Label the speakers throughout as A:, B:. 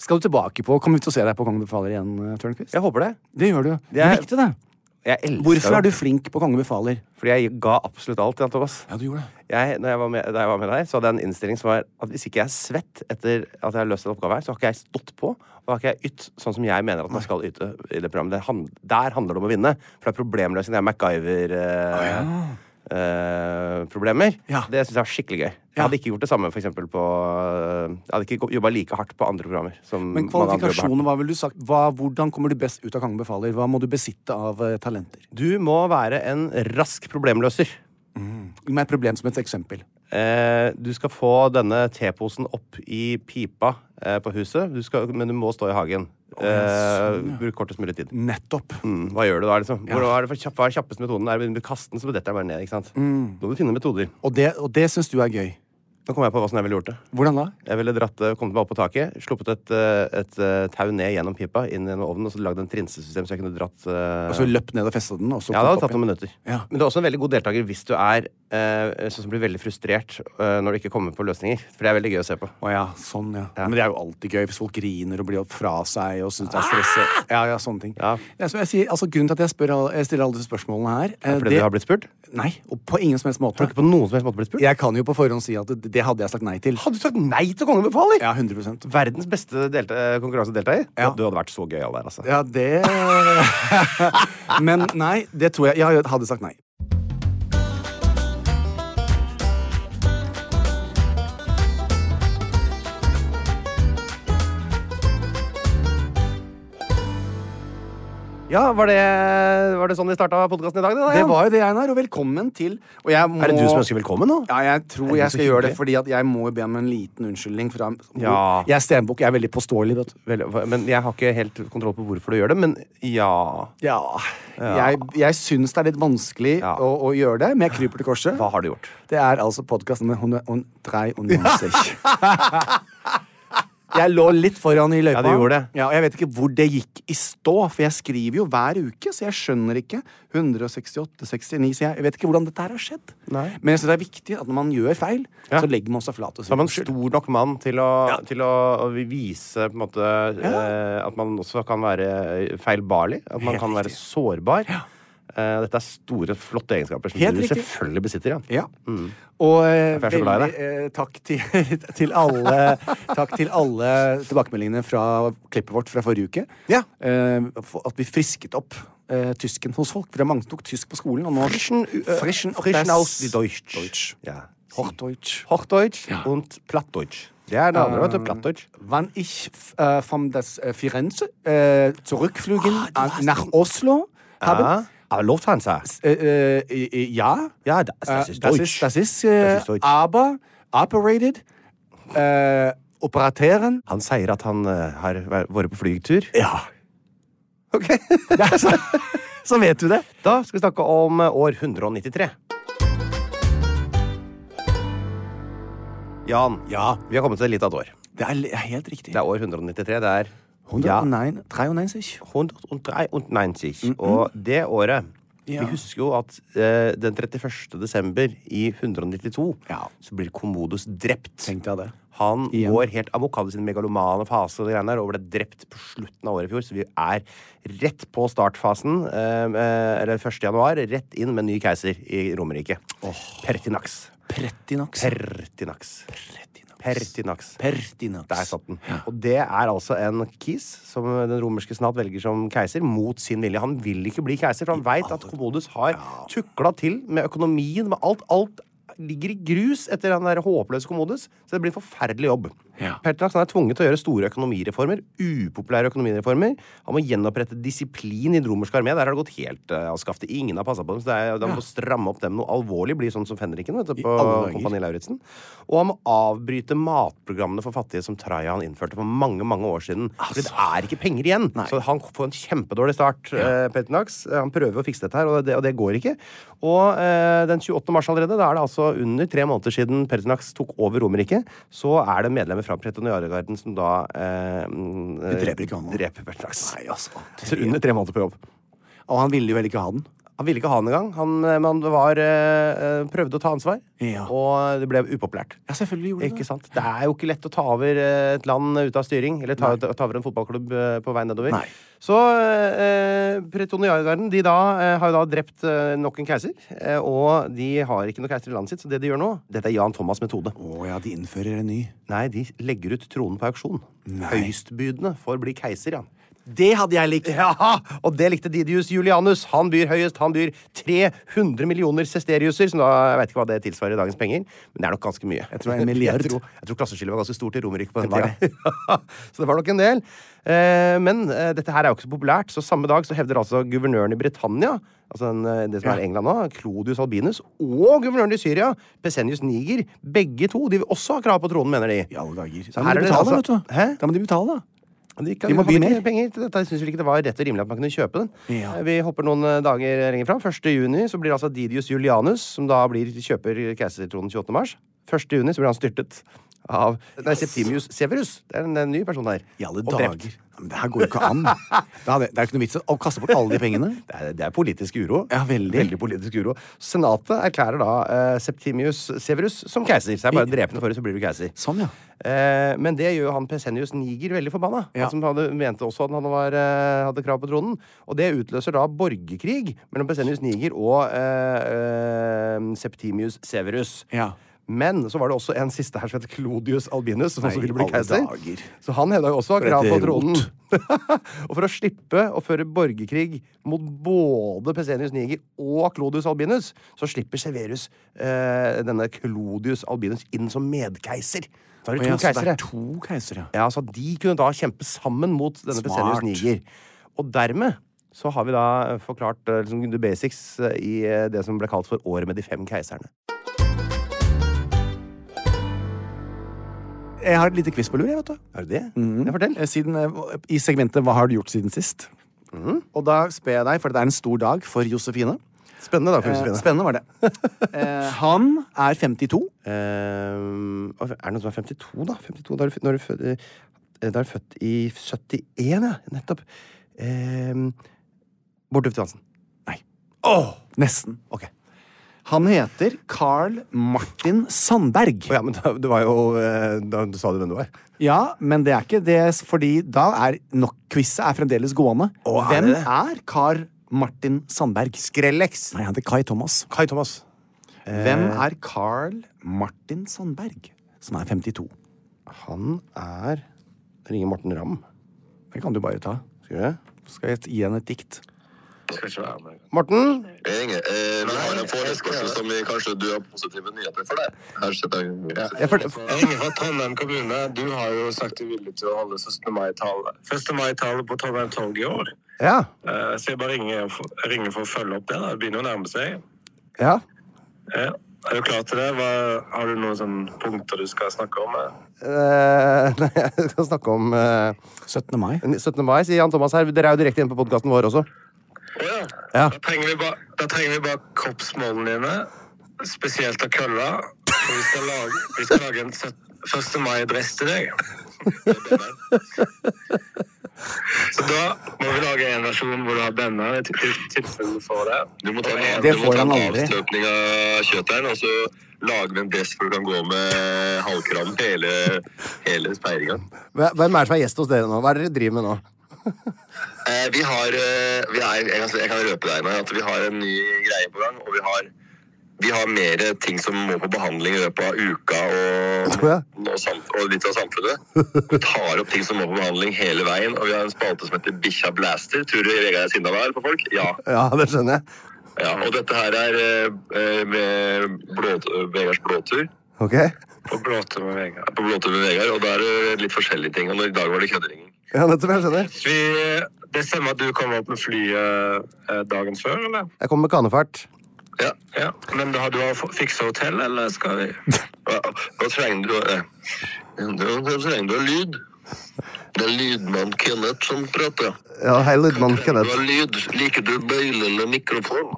A: Skal du tilbake på Kommer vi til å se deg på Kongen befaler igjen, eh, Tørnquist?
B: Jeg håper det.
A: Det gjør du.
B: Det er-
A: Du likte det.
B: Jeg elsker
A: Hvorfor er
B: det.
A: du flink på Kongen befaler?
B: Fordi jeg ga absolutt alt. Jan Thomas.
A: Ja, du gjorde det.
B: Jeg, når jeg var med, da jeg var med deg, så hadde jeg en innstilling som var at hvis ikke jeg er svett etter at jeg har løst en oppgave her, så har ikke jeg stått på. Og da har ikke jeg ytt sånn som jeg mener at man skal yte i det programmet. Det hand, der handler det om å vinne. For det er problemløsning. Det er MacGyver-problemer.
A: Ja.
B: Det syns jeg var skikkelig gøy. Jeg
A: Ja.
B: hadde ikke gjort det samme for eksempel, på eh, Jeg hadde ikke jobba like hardt på andre programmer. Som
A: Men
B: mange andre jobber hardt på.
A: kvalifikasjonen, hva ville du sagt? Hva, hvordan kommer du best ut av Kongen befaler? Hva må du besitte av eh, talenter?
B: Du må være en rask problemløser.
A: Gi meg et problem som et eksempel.
B: Eh, du skal få denne teposen opp i pipa eh, på huset, du skal, men du må stå i hagen. Eh, bruk kortest mulig tid.
A: Nettopp.
B: Mm, hva gjør du da? liksom? Hvor, hva, er det for kjapp, hva er kjappeste metoden? Er det å kaste den, så detter den bare ned? ikke sant? Da må du finne metoder.
A: Og det, og det syns du er gøy.
B: Nå kom jeg på hva som jeg ville gjort det.
A: Hvordan da?
B: Jeg ville dratt, det- kommet meg opp på taket, sluppet et, eh, et, eh, tau ned gjennom pipa, inn gjennom ovnen, og så lagd en trinsesystem så jeg kunne dratt eh,
A: Og så løp ned og festa den, og så
B: Ja, det hadde
A: opp
B: tatt noen minutter.
A: Ja.
B: Men du er også en veldig god deltaker hvis du er eh, sånn som blir veldig frustrert eh, når du ikke kommer på løsninger. For det er veldig gøy å se på.
A: Å ja, sånn, ja. Men det er jo alltid gøy hvis folk griner og blir fra seg og syns det er stress. Ja, Ah! ja, sånne ting.
B: Ja.
A: Det er som jeg sier, altså, grunnen til at jeg, spør, alle- jeg stiller alle disse spørsmålene her eh,
B: Fordi du har blitt spurt?
A: Nei, og på ingen som helst måte.
B: Har du ikke på noen som helst måte blitt spurt?
A: Jeg kan jo på forhånd si at det, det hadde jeg sagt nei til.
B: Hadde du sagt nei til kongebefaler?
A: Ja, 100
B: Verdens beste eh, delta konkurransedeltaker?
A: Ja.
B: Du hadde vært så gøyal der, altså.
A: Ja, det Men nei, det tror jeg Jeg hadde sagt nei.
B: Ja, var, det, var det sånn vi starta podkasten i dag? da,
A: Det
B: Jan?
A: var jo det, Einar, og velkommen til og jeg må,
B: Er det du som ønsker velkommen nå?
A: Ja, jeg tror
B: det
A: jeg
B: så
A: skal gjøre det,
B: hyggelig?
A: fordi at jeg må jo be om en liten unnskyldning fra
B: Ja.
A: Jeg er stenbukk, jeg er veldig påståelig, vet du.
B: Vel, hva- men Jeg har ikke helt kontroll på hvorfor du gjør det, men ja
A: Ja. Jeg, jeg syns det er litt vanskelig
B: Ja.
A: å, å gjøre det, men jeg kryper til korset.
B: Hva har du gjort?
A: Det er altså podkasten med 193. Jeg lå litt foran i løypa.
B: Ja, du gjorde det.
A: Ja, og jeg vet ikke hvor det gikk i stå, for jeg skriver jo hver uke, så jeg skjønner ikke. 168, 69, så jeg, jeg vet ikke hvordan dette her har skjedd.
B: Nei.
A: Men jeg synes det er viktig at når man gjør feil,
B: Ja.
A: så legger man seg flat og
B: Så er
A: sier
B: man stor nok mann til å, til å, å vise på en måte eh, at man også kan være feilbarlig. At man
A: Helt
B: kan være
A: riktig.
B: sårbar. Eh, dette er store, flotte egenskaper som
A: Helt
B: du
A: riktig.
B: selvfølgelig besitter. Ja.
A: Ja. Og eh,
B: Derfor er Mm. jeg så glad i
A: veldig, eh, takk, til, til alle, takk til alle tilbakemeldingene fra klippet vårt fra forrige uke.
B: Ja.
A: Eh, for at vi frisket opp eh, tysken hos folk. For det er mange som tok tysk på skolen. Og nå,
B: Frischen, äh,
A: frischen, opp
B: frischen
A: das-
B: aus die Deutsch.
A: Deutsch.
B: Ja.
A: Hochdeutsch.
B: Hochdeutsch und Plattdeutsch. Det er det andre, vet du. Plattdeutsch.
A: Wann ich äh, von das äh, Firenze äh, zurückflügen
B: Ah,
A: an, nach Oslo habe,
B: Ja. Aber Lufthansa.
A: äh, äh, äh, ja,
B: Ja, das, das
A: Äh,
B: ist
A: das
B: Deutsch.
A: ist, das ist, äh,
B: Das ist Deutsch.
A: aber operated äh, Operateuren.
B: Han sier at han eh, har væ- vært på flytur.
A: Ja.
B: Ok.
A: ja så, så vet du det.
B: Da skal vi snakke om eh, år 193.
A: Jan,
C: Ja.
A: vi har kommet til litt av et år.
C: Det er li- helt riktig.
A: Det er år 193. Det er
C: 109, 93.
A: 193. Og det året
C: Ja.
A: Vi husker jo at eh, den 31. desember i 192
C: Ja.
A: så blir Commodus drept.
C: Tenkte jeg det.
A: Han
C: Igjen.
A: går helt amok, hadde sin megalomane fase og det greiene der, og ble drept på slutten av året i fjor. Så vi er rett på startfasen, eh, eh, eller 1. januar, rett inn med ny keiser i Romerike. Pertinax.
C: Pertinax.
A: Pertinax. Pertinax.
C: Pertinax.
A: Der satt den. Og det er altså en kis som den romerske senat velger som keiser mot sin vilje. Han vil ikke bli keiser, for han veit at Commodus har tukla til med økonomien, med alt. Alt ligger i grus etter han der håpløse Commodus, så det blir en forferdelig jobb.
C: Ja.
A: Pertinax han er tvunget til å gjøre store økonomireformer, upopulære økonomireformer. Han må gjenopprette disiplin i den romerske armé. Der har det gått helt eh, av skaftet. Ingen har passa på dem, så det er, de må stramme opp dem noe alvorlig. Bli sånn som fenriken vet du, på
C: alle dager.
A: Kompani Lauritzen. Og han må avbryte matprogrammene for fattige som Trajan innførte for mange mange år siden. For det er ikke penger igjen! Så han får en kjempedårlig start. Eh, Petinax. Eh, Han prøver å fikse dette her, og det, og det går ikke. Og eh, den 28. mars allerede, da er det altså under tre måneder siden Petinax tok over Romerriket, så er det medlemmer fra Pretoniaregarden som da eh, De
C: dreper ikke han nå.
A: Dreper Petinax.
C: Nei, altså.
A: Så under tre måneder på jobb.
C: Og han ville jo vel ikke ha den.
A: Han ville ikke ha den engang. Han, eh, men han var, eh, eh, prøvde å ta ansvar,
C: Ja.
A: og det ble upopulært.
C: Ja, selvfølgelig gjorde
A: Ikke sant? Det er jo ikke lett å ta over eh, et land ut av styring, eller ta, ta over en fotballklubb eh, på vei nedover.
C: Nei.
A: Så eh, Pretoniargarden de da, eh, har jo da drept eh, nok en keiser, eh, og de har ikke noe keiser i landet sitt, så det de gjør nå, dette er Jan Thomas' metode.
C: Å ja, de innfører en ny.
A: Nei, de legger ut tronen på auksjon. Høyestbydende får bli keiser, Jan.
C: Det hadde jeg likt.
A: Ja, og det likte Didius Julianus. Han byr høyest. Han byr 300 millioner sesteriuser, som da, jeg vet ikke hva det tilsvarer i dagens penger, men det er nok ganske mye. Jeg
C: tror det er en milliard.
A: Jeg tror, jeg tror klasseskillet var ganske stort i Romerike på den
C: var
A: tida. så det var nok en del. Eh, men eh, dette her er jo ikke så populært, så samme dag så hevder altså guvernøren i Britannia Altså den, eh, det som er England nå, Clodius Albinus, og guvernøren i Syria, Pesenius Niger, begge to. De vil også ha krav på tronen, mener de.
C: I alle dager.
A: Så
C: Da må
A: her
C: de
A: er det
C: betale,
A: altså-
C: vet du.
A: Hæ?
C: Da må de betale, da.
A: De, kan,
C: De må
A: kan
C: by
A: ikke
C: mer.
A: gi Penger til dette. Jeg syns vel ikke det var rett og rimelig at man kunne kjøpe den.
C: Ja.
A: Eh, Vi hopper noen eh, dager lenger fram. 1. juni så blir det altså Didius Julianus, som da blir, kjøper keisertronen 28. mars. 1. juni så blir han styrtet av Nei, Septimius Severus. Det er en, en ny person her.
C: I alle
A: Og drept.
C: dager. Ja, men det her går jo ikke an. Da hadde, det er jo ikke noe vits i å kaste bort alle de pengene.
A: Det er, det er politisk uro.
C: Ja, veldig.
A: politisk uro. Senatet erklærer da eh, Septimius Severus som keiser. Så det er bare å drepe den forrige, så blir du keiser.
C: Sånn, ja.
A: Eh, men det gjør jo han Pesenius Niger veldig forbanna.
C: Ja.
A: Han som hadde, mente også at han var, eh, hadde krav på tronen. Og det utløser da borgerkrig mellom Pesenius Niger og eh, eh, Septimius Severus.
C: Ja.
A: Men så var det også en siste her som het Clodius Albinus, som
C: Nei,
A: også ville bli
C: alle
A: keiser.
C: dager.
A: Så han hevda jo også
C: et
A: krav på
C: rot.
A: tronen. og for å slippe å føre borgerkrig mot både Pesenius Niger og Clodius Albinus, så slipper Severus eh, denne Clodius Albinus inn som medkeiser. Da
C: Å
A: har du
C: ja, så
A: to
C: det
A: keisere.
C: er to keisere.
A: Ja, så De kunne da kjempe sammen mot denne Pesenius
C: Smart.
A: Niger. Og dermed så har vi da eh, forklart eh, liksom, the basics eh, i eh, det som ble kalt for året med de fem keiserne.
C: Jeg har et lite quiz på lur, jeg, vet du.
A: Er det det? Ja, fortell.
C: Eh, Siden, eh, I segmentet 'Hva har du gjort siden sist?'
A: Mhm.
C: Og da spør jeg deg, for det er en stor dag for Josefine.
A: Spennende, da. for
C: Eh,
A: Josefine.
C: spennende var det. Eh, han er 52.
A: Ehm, er det noen som er 52, da? 52, da er du, fø- når du, fø- eh, da er du født i 71, ja. Nettopp. Ehm, Bård Tufte Johansen.
C: Nesten.
A: Ok.
C: Han heter Carl Martin Sandberg.
A: Å ja, men da, det var jo eh, Da sa du hvem du var.
C: Ja, men det er ikke det, fordi da er nok quizet er fremdeles gående.
A: Å, er
C: Hvem
A: det det?
C: er Carl Martin Sandberg?
A: Skrellex. Eh.
C: Nei, han heter Kai Thomas.
A: Kai Thomas.
C: Hvem er Carl Martin Sandberg, som er 52?
A: Han er Ringer Morten Ramm.
C: Det kan du bare ta.
A: Skal vi det?
C: Skal jeg gi henne et dikt?
A: Morten?
D: Inge, eh, vi har en forespørsel som vi kanskje du har positive nyheter for deg. Her sitter jeg.
A: Ja, for,
B: Inge fra Trondheim kommune, du har jo sagt du er villig til å holde 17. mai-tale. 1. mai-tale på Trondheim Torg i år.
A: ja.
B: Eh, Så jeg bare ringer, for- ringer for å følge opp det. da. Det begynner å nærme seg.
A: ja.
B: Ja. Er du klar til det? Hva, har du noen sånne punkter du skal snakke om? eh?
A: Eh, nei, jeg skal snakke om eh,
C: 17. mai.
A: 17. mai, sier Jan Thomas her. Dere er jo direkte inne på podkasten vår også.
B: Å ja.
A: Ja.
B: Da trenger vi bare, da trenger vi bare kroppsmålene dine. Spesielt av kølla.
E: For vi skal lage, vi skal lage en 1. mai-dress til deg. Så da må vi lage en versjon hvor du har benner i til- til- tilfelle du får det.
B: Du må ta en,
A: Det
B: du må
A: får
B: ta en
A: han aldri.
B: avstøpning av kjøttdeigen, og så lager vi en dress hvor du kan gå med halvkram hele, hele speiringa.
C: Hvem er det som er gjest hos dere nå? Hva er det dere driver med nå?
B: Eh, vi har eh, vi er, jeg, kan, jeg kan røpe deg med at vi har en ny greie på gang, og vi har vi har mer ting som må på behandling i løpet av uka og,
C: Ja.
B: og, sam- og litt av samfunnet. Vi tar opp ting som må på behandling hele veien, og vi har en spalte som heter Bikkja blaster. Tror du Vegard er sinna der på folk? Ja.
C: Ja, det skjønner jeg.
B: ja. Og dette her er eh, eh, med blå, Vegards blåtur.
C: Ok.
E: Og blåte med Vegard.
B: på Blåtur med Vegard, og da er det litt forskjellige ting. Og i dag var det kødderinging.
C: Ja, nettopp. Jeg skjønner.
E: Vi, det stemmer at du kommer opp med flyet eh, dagen før, eller?
C: Jeg kommer med kanefart.
B: Ja.
E: Ja. Men har du fiksa hotell, eller skal vi
B: Hva, hva trenger du eh, Hva trenger du av lyd? Det er lydmann Kenneth som prater.
C: Ja, hei, lydmann
B: Du
C: Kenneth.
B: har lyd. Liker du bøylende mikrofon?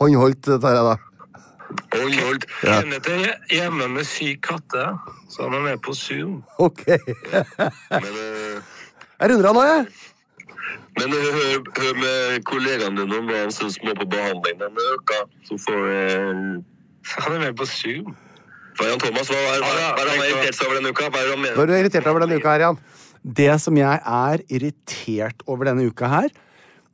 C: Håndholdt eh, tar jeg da.
B: Og Njord.
E: Kenneth er hjemme med syk katte, så han er med på Zoom.
C: Ok. Jeg
B: Men, eh,
C: runder av nå, jeg.
B: men eh, hør, hør med kollegaen din om hva han syns må på behandling denne uka. Så får vi
E: Han er med på Zoom.
B: Hva er han Thomas? Hva er, hva er, hva er han irritert seg over denne uka? Hva er han
C: Hva
B: mener?
C: er du irritert over denne uka her, Jan?
A: Det som jeg er irritert over denne uka her,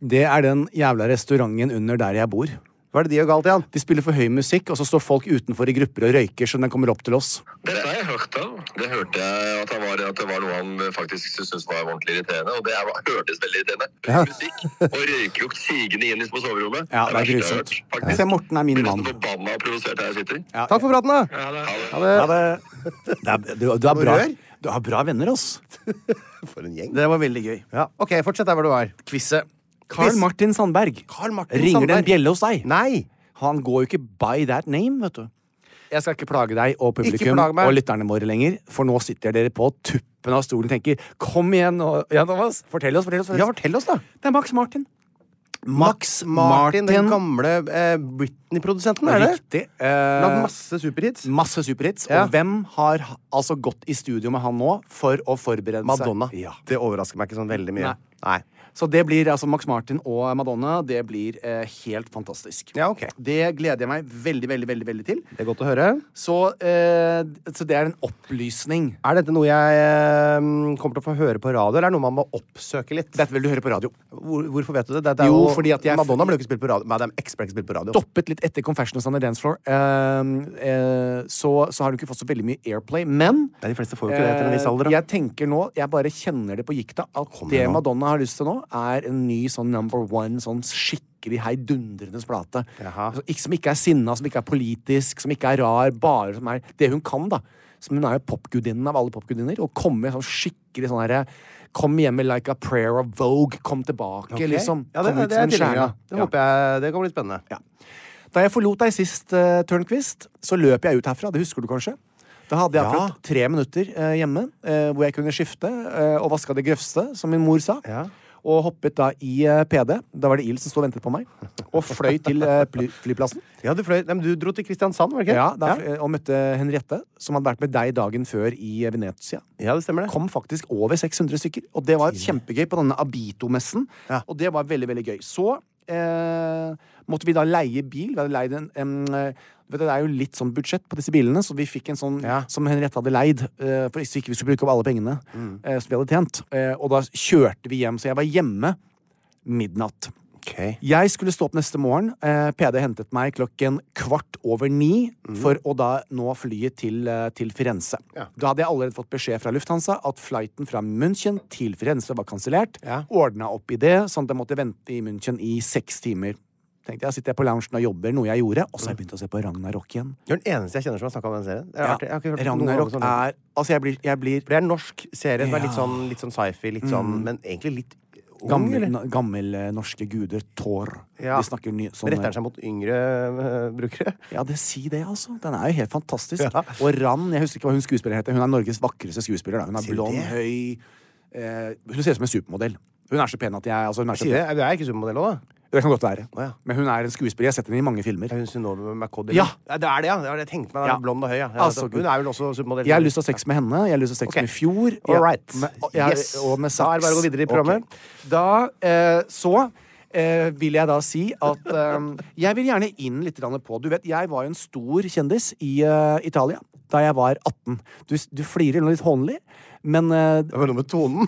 A: det er den jævla restauranten under der jeg bor.
C: Hva er det de gjør galt, Jan?
A: De spiller for høy musikk, og så står folk utenfor i grupper og røyker, så den kommer opp til oss.
E: Dette har jeg hørt av.
B: Det hørte jeg at, han var, at det var noe han eh, faktisk syntes var ordentlig irriterende. Og det er, hørtes veldig irriterende. Høy musikk og røyklukt sigende inn på soverommet.
A: Ja, det er
B: verste jeg har
A: grusomt.
B: hørt, faktisk.
A: Se, Morten er min
B: Blir nesten
A: mann.
B: forbanna og provosert her jeg sitter.
C: Takk for praten, da. Eh,
E: Ja, det er.
A: Ja, det, det er, du, du, er bra,
C: rør.
A: du har bra venner, ass.
C: For en gjeng.
A: Det var veldig gøy.
C: Ja, ok, fortsett der hvor du var.
A: Quizze. Carl
C: Quiz.
A: Martin Sandberg.
C: Carl Martin
A: Ringer det
C: Sandberg.
A: en bjelle hos deg?
C: Nei!
A: Han går jo ikke by that name, vet du. Jeg skal ikke plage deg og
C: Ikke
A: publikum
C: plage meg.
A: og lytterne våre lenger, for nå sitter dere på tuppen av stolen og tenker Kom igjen, nå, ja, Thomas. Fortell oss, fortell oss.
C: Ja, fortell oss, da.
A: Det er Max Martin. Max,
C: Martin,
A: Martin.
C: den gamle eh, Britney-produsenten, er det?
A: Riktig.
C: Lagd
A: Eh,
C: masse superhits.
A: masse superhits.
C: Ja.
A: Og hvem har ha- altså gått i studio med han nå for å forberede
C: Madonna.
A: seg? Ja.
C: Det overrasker meg ikke sånn veldig mye.
A: Nei. Så det blir altså Max Martin og Madonna. Det blir eh, helt fantastisk.
C: Ja, ok.
A: Det gleder jeg meg veldig, veldig, veldig, veldig til.
C: Det er godt å høre.
A: Så, eh, så det er en opplysning.
C: Er dette noe jeg eh, kommer til å få høre på radio, eller er det noe man må oppsøke litt?
A: Dette vil du høre på radio.
C: Hvor, hvorfor vet du det? Dette er
A: Jo, fordi at jeg-
C: Madonna ble jo ikke spilt på radio. Madame X ble ikke spilt på radio.
A: Stoppet litt etter Confessions on the Dance Floor, eh, eh, så, så har du ikke fått så veldig mye airplay. Men
C: Nei, de fleste får jo ikke det etter en viss alder.
A: eh,
C: da.
A: jeg tenker nå, jeg bare kjenner det på gikta, at
C: Kom
A: det
C: igjen nå.
A: Madonna har lyst til nå, er en ny sånn number one, sånn skikkelig heidundrende plate.
C: Jaha.
A: Altså, ikke- Som ikke er sinna, som ikke er politisk, som ikke er rar, bare som er det hun kan, da. Som hun er jo popgudinnen av alle popgudinner. Og komme med sånn skikkelig sånn herre Kom hjem med like a prayer of Vogue. Kom tilbake,
C: Ok.
A: liksom.
C: Ja, det,
A: kom
C: det,
A: ut
C: det
A: som
C: er
A: en
C: tilhenger
A: stjerne.
C: av. Det
A: Ja.
C: håper jeg Det kan bli spennende.
A: Da jeg forlot deg sist, uh, Tørnquist, så løp jeg ut herfra. Det husker du kanskje? Da hadde jeg
C: Ja.
A: akkurat tre minutter eh, hjemme eh, hvor jeg kunne skifte eh, og vaska det grøvste, som min mor sa.
C: Ja.
A: Og hoppet da i eh, PD. Da var det IL som sto og ventet på meg. Og fløy til eh, fly flyplassen.
C: Ja, du, fløy, nei, men du dro til Kristiansand, var det ikke?
A: Ja, da, fl- Og møtte Henriette, som hadde vært med deg dagen før i eh, Venezia.
C: ja, det stemmer det.
A: Kom faktisk over 600 stykker, og det var kjempegøy på denne Abito-messen.
C: Ja.
A: Og det var veldig, veldig gøy. Så eh, måtte vi da leie bil. Vi hadde leid en, em, eh, du vet, det er jo litt sånn budsjett på disse bilene, så vi fikk en sånn
C: Ja.
A: som Henriette hadde leid, eh, for så ikke vi skulle bruke opp alle pengene
C: Mm.
A: eh, som vi hadde tjent. Eh, og da kjørte vi hjem, så jeg var hjemme midnatt.
C: Ok.
A: Jeg skulle stå opp neste morgen. Eh, PD hentet meg klokken kvart over ni for å da nå flyet til, eh, til Firenze.
C: Mhm. Ja.
A: Da hadde jeg allerede fått beskjed fra Lufthansa at flighten fra München til Firenze var kansellert.
C: Ja.
A: Ordna opp i det, sånn at jeg måtte vente i München i seks timer. Tenkte jeg, sitter jeg på loungen og jobber, noe jeg gjorde, og så har jeg begynt å se på Ragnarok igjen.
C: Du er den eneste jeg kjenner som har snakka om den serien. Det er artig. Jeg har ikke hørt noe
A: Ragnarok
C: annet om den.
A: er Altså, jeg blir, jeg blir
C: For det er en norsk serie som er litt
A: Ja.
C: sånn, litt sånn sci-fi, litt sånn, men egentlig litt ung,
A: gammel,
C: eller?
A: na- gammel eh, norske guder, Thor.
C: Ja.
A: De snakker ny, sånn
C: Retter den seg mot yngre eh, brukere?
A: Ja, det si det, altså. Den er jo helt fantastisk.
C: Ja.
A: Og Rann, jeg husker ikke hva hun skuespiller heter. Hun er Norges vakreste skuespiller. Da. Hun er
C: Sier du
A: blond,
C: det?
A: høy eh, Hun ser ut som en supermodell. Hun er så pen at jeg altså, hun er så
C: Sier jeg,
A: pen.
C: jeg er ikke supermodell òg, da.
A: Det kan godt være.
F: Å, ja.
A: Men hun er en skuespiller. Jeg har sett henne i mange filmer.
F: Er hun Synnøve McCoddy?
A: Ja.
F: Det er det, ja. Det var det jeg tenkte meg.
A: Ja.
F: Ja. Blond og høy. Ja. Ja,
A: Altså,
F: hun er vel også supermodell.
A: Jeg har lyst til å ha sex med henne. Jeg har lyst til å ha sex
F: Ok.
A: med Fjord.
F: All right.
A: Med, og, jeg,
F: Yes.
A: og med
F: Da er det bare å gå
A: saks.
F: videre i programmet.
A: Ok. Da, eh, så eh, vil jeg da si at eh, jeg vil gjerne inn litt grann på Du vet, jeg var jo en stor kjendis i eh, Italia da jeg var 18. Du, s- du flirer nå litt hånlig, men eh,
F: Det var noe med tonen.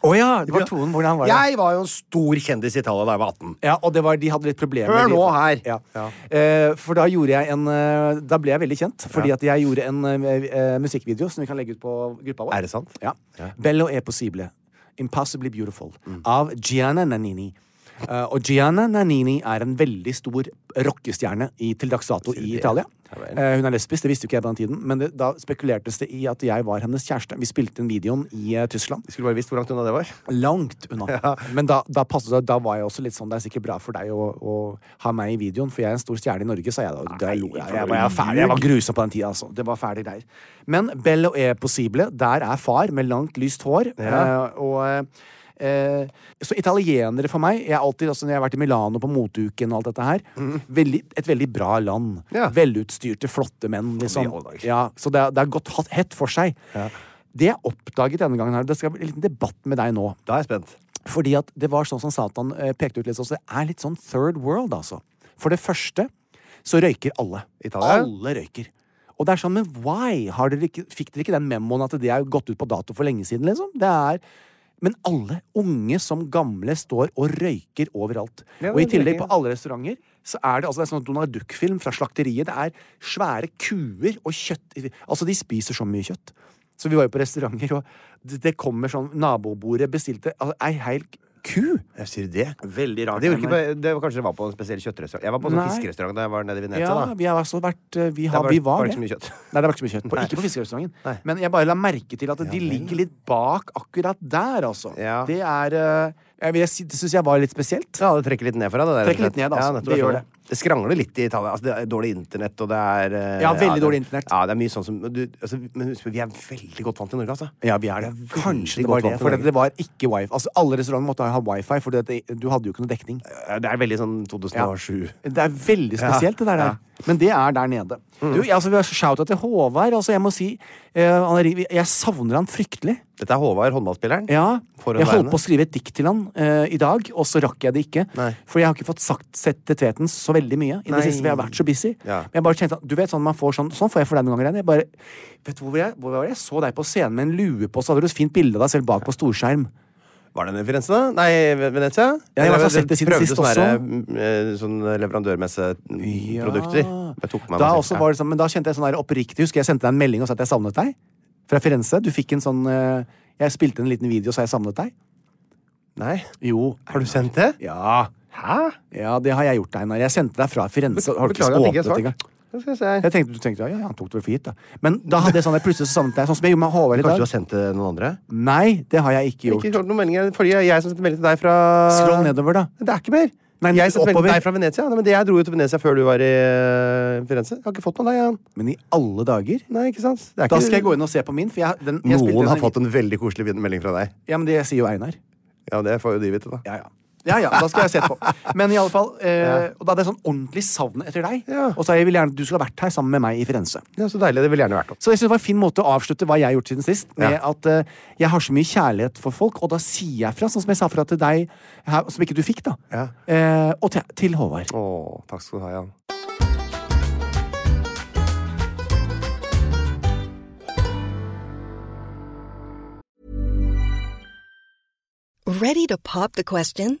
A: Å ja! Det var tonen. Hvordan var det?
B: Jeg var jo en stor kjendis i Italia da jeg var 18.
A: Ja, og det var, de hadde litt problemer.
B: Hør
A: de-
B: nå her.
A: Ja.
B: Ja.
A: Eh, for da gjorde jeg en eh, Da ble jeg veldig kjent. Fordi at jeg gjorde en eh, eh, musikkvideo som vi kan legge ut på gruppa vår.
B: Er det sant?
A: Ja. Bello e possible. Impossibly beautiful.
B: Mm.
A: Av Gianna Nannini. Eh, og Gianna Nannini er en veldig stor rockestjerne i, til dags dato i Italia. Eh, hun er lesbisk, det visste jo ikke jeg på den tiden, men det, da spekulertes det i at jeg var hennes kjæreste. Vi spilte den videoen i eh, Tyskland.
F: Skulle bare visst hvor langt unna det var.
A: Langt unna. Men da, da passet det, da var jeg også litt sånn Det er sikkert bra for deg å, å ha meg i videoen, for jeg er en stor stjerne i Norge, sa jeg da. Da lo jeg, jeg, var- jeg, var fæl, jeg var grusom på den tida, altså. Det var fæle greier. Men Bello e Possible, der er far med langt, lyst hår. eh, og eh, så italienere for meg jeg har alltid, altså Når jeg har vært i Milano på moteuken og alt dette her veldig, Et veldig bra land.
B: Ja.
A: Velutstyrte, flotte menn, liksom.
F: alle dager.
A: Ja, så det, er- det er godt hatt- hett for seg. Det jeg oppdaget denne gangen her, Det skal bli en liten debatt med deg nå.
F: Da er jeg spent.
A: Fordi at det var sånn som Satan eh, pekte ut litt, så det er litt sånn third world, altså. For det første så røyker alle.
B: Italia?
A: Alle røyker. Og det er sånn, men why? Har dere ikke, fikk dere ikke den memoen at det er gått ut på dato for lenge siden, liksom? Det er Men alle, unge som gamle, står og røyker overalt.
B: Ja,
A: og
B: det
A: i
B: er
A: tillegg,
B: røyking,
A: på alle restauranter, så er det altså det er sånn Donald Duck-film fra slakteriet. Det er svære kuer og kjøtt Altså, de spiser så mye kjøtt. Så vi var jo på restauranter, og det, det kommer sånn Nabobordet bestilte altså, ei hel ku.
F: Jeg sier det.
A: Veldig rart.
B: Det, gjorde ikke, på- det var kanskje det var på en spesiell kjøttrestaurant. Jeg var på en sånn
A: Nei.
B: fiskerestaurant da jeg var nede i Venezia.
A: Ja,
B: da.
A: vi har også vært eh, Vi,
B: Der
A: har,
B: var,
A: vi var
B: var det
A: det.
B: ikke så mye kjøtt.
A: Nei, det var ikke så mye kjøtt. På, ikke på fiskerestauranten.
B: Nei.
A: Men jeg bare la merke til at de ligger litt bak akkurat der, altså.
B: Ja.
A: Det er eh, jeg vil si- Det syns jeg var litt spesielt.
B: Ja, det trekker litt ned for deg. Det, der,
A: Trekker litt ned, altså.
B: Ja, nettopp,
A: Det
B: jeg
A: gjør
B: skjønner. det skrangler litt i Italia. Altså, det er dårlig internett, og det er eh,
A: Ja, veldig
B: det-
A: dårlig internett.
B: Ja, det er mye sånn som du, altså, Men husk, vi er veldig godt vant i Norge, altså.
A: Ja, vi er det.
B: veldig
A: Kanskje det
B: godt
A: var det.
B: vant i
A: For
B: Norge.
A: det var ikke wifi. Altså, alle restauranter måtte ha wifi, for du hadde jo ikke noe dekning.
B: Ja, Det er veldig sånn 2007.
A: Det er veldig spesielt, det der. Men det er der nede. Du, jeg, altså, vi har shouta til Håvard. Altså, jeg må si eh, han er, Jeg savner han fryktelig.
B: Dette er Håvard, håndballspilleren.
A: Ja,
B: For en
A: jeg holdt
B: verden.
A: på å skrive et dikt til han eh, i dag, og så rakk jeg det ikke.
B: Nei.
A: For jeg har ikke fått sagt, sett til Tveten så veldig mye. I det siste, Vi har vært så busy.
B: Ja.
A: Men jeg bare kjente, at- du vet sånn man får sånn, sånn får jeg for deg noen ganger. Reine. Jeg bare, vet du hvor jeg, hvor var det? jeg så deg på scenen med en lue på, så hadde du et fint bilde av deg selv bak på storskjerm.
B: Var det en referanse, da? Nei, Venezia?
A: Ja, jeg har i hvert fall
B: Eller,
A: sett det siden
B: prøvde
A: sist
B: sånne
A: også.
B: der, mm, eh, Sånne leverandørmesseprodukter. Jeg tok med meg
A: Da,
B: noe
A: også
B: sånt.
A: var det sånn, men da kjente jeg sånn der oppriktig Husker jeg sendte deg en melding og sa at jeg savnet deg? Fra Firenze. Du fikk en sånn eh, Jeg spilte en liten video og sa jeg savnet deg.
B: Nei?
A: Jo.
B: Har du sendt det?
A: Ja.
B: Hæ?
A: ja, det har jeg gjort, Einar. Jeg sendte deg fra Firenze. Har du ikke
B: Beklager at jeg ikke
A: åpnet
B: har
A: engang?
B: svart. Nå skal jeg se her.
A: Jeg tenkte, du tenkte ja, ja, han tok det vel for gitt, da. Men da hadde jeg sånn, jeg plutselig så savnet deg, sånn som jeg gjorde med Håvard i
B: Kanskje
A: dag.
B: du har sendt det til noen andre?
A: Nei, det har jeg ikke gjort.
B: Ikke klart noen meldinger Fordi jeg som sendte melding til deg fra
A: Scroll nedover, da.
B: Det er ikke mer.
A: Nei,
B: jeg sendte melding
A: oppover.
B: til deg fra Venezia. Nei, men det Jeg dro jo til Venezia før du var i eh, Firenze. Jeg har ikke fått noe av deg. Jan.
A: Men i alle dager?
B: Nei, ikke sant? Det er
A: Da
B: ikke-
A: skal jeg gå inn og se på min, for jeg, den, jeg spilte
B: Noen har
A: den-
B: fått en sånn veldig koselig vin- melding fra deg.
A: Ja, men det sier jo Einar.
B: Ja, det får jo de vite, da.
A: Ja, ja. Ja, ja, da skal jeg se på. Men i alle fall, eh, og da hadde jeg sånn ordentlig savn etter deg.
B: Ja.
A: Og så jeg vil gjerne at du skulle ha vært her sammen med meg i Firenze.
B: Ja, så deilig. Det ville gjerne vært opp.
A: Så jeg synes det var en fin måte å avslutte hva jeg har gjort siden sist, med
B: Ja.
A: at eh, jeg har så mye kjærlighet for folk, og da sier jeg fra, sånn som jeg sa fra til deg, her, som ikke du fikk, da.
B: Ja.
A: Eh, og til, til Håvard.
B: Å, takk skal du ha, Jan.
E: Ready to pop the question?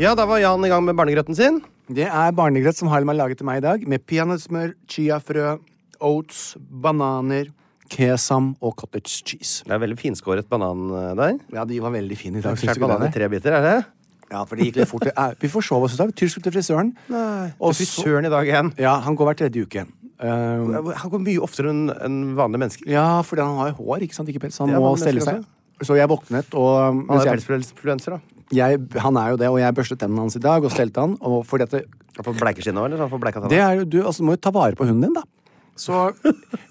A: Ja, da var Jan i gang med barnegrøten sin.
C: Det er barnegrøt som Harlem har laget til meg i dag, med peanøttsmør, chiafrø, oats, bananer, kesam og cottage cheese.
A: Det er veldig finskåret banan eh, der.
C: Ja, de var veldig fine i dag. synes du
A: Skjært
C: ikke
A: banan i
C: det?
A: tre biter, er det?
C: Ja, for det gikk litt fort. Eh, Vi forsov oss i dag. Tyr skulle til frisøren.
A: Nei.
C: Og
A: Og frisøren i dag igjen.
C: Ja, han går hver tredje uke. Eh,
A: Han går mye oftere enn enn vanlige mennesker.
C: ja, fordi han har jo hår, ikke sant? Ikke pels. så Han
A: Det er
C: må
A: mange
C: stelle
A: mennesker
C: seg. Så jeg våknet, og
A: Han
C: mens
A: er
C: jeg,
A: pelsfluenser, da.
C: jeg, han er jo det, og jeg børstet tennene hans i dag og stelte han. Og fordi at det,
A: Han får bleikeskinn nå, eller? Så han får bleika tanna.
C: Det er jo, du altså, må jo ta vare på hunden din, da. Så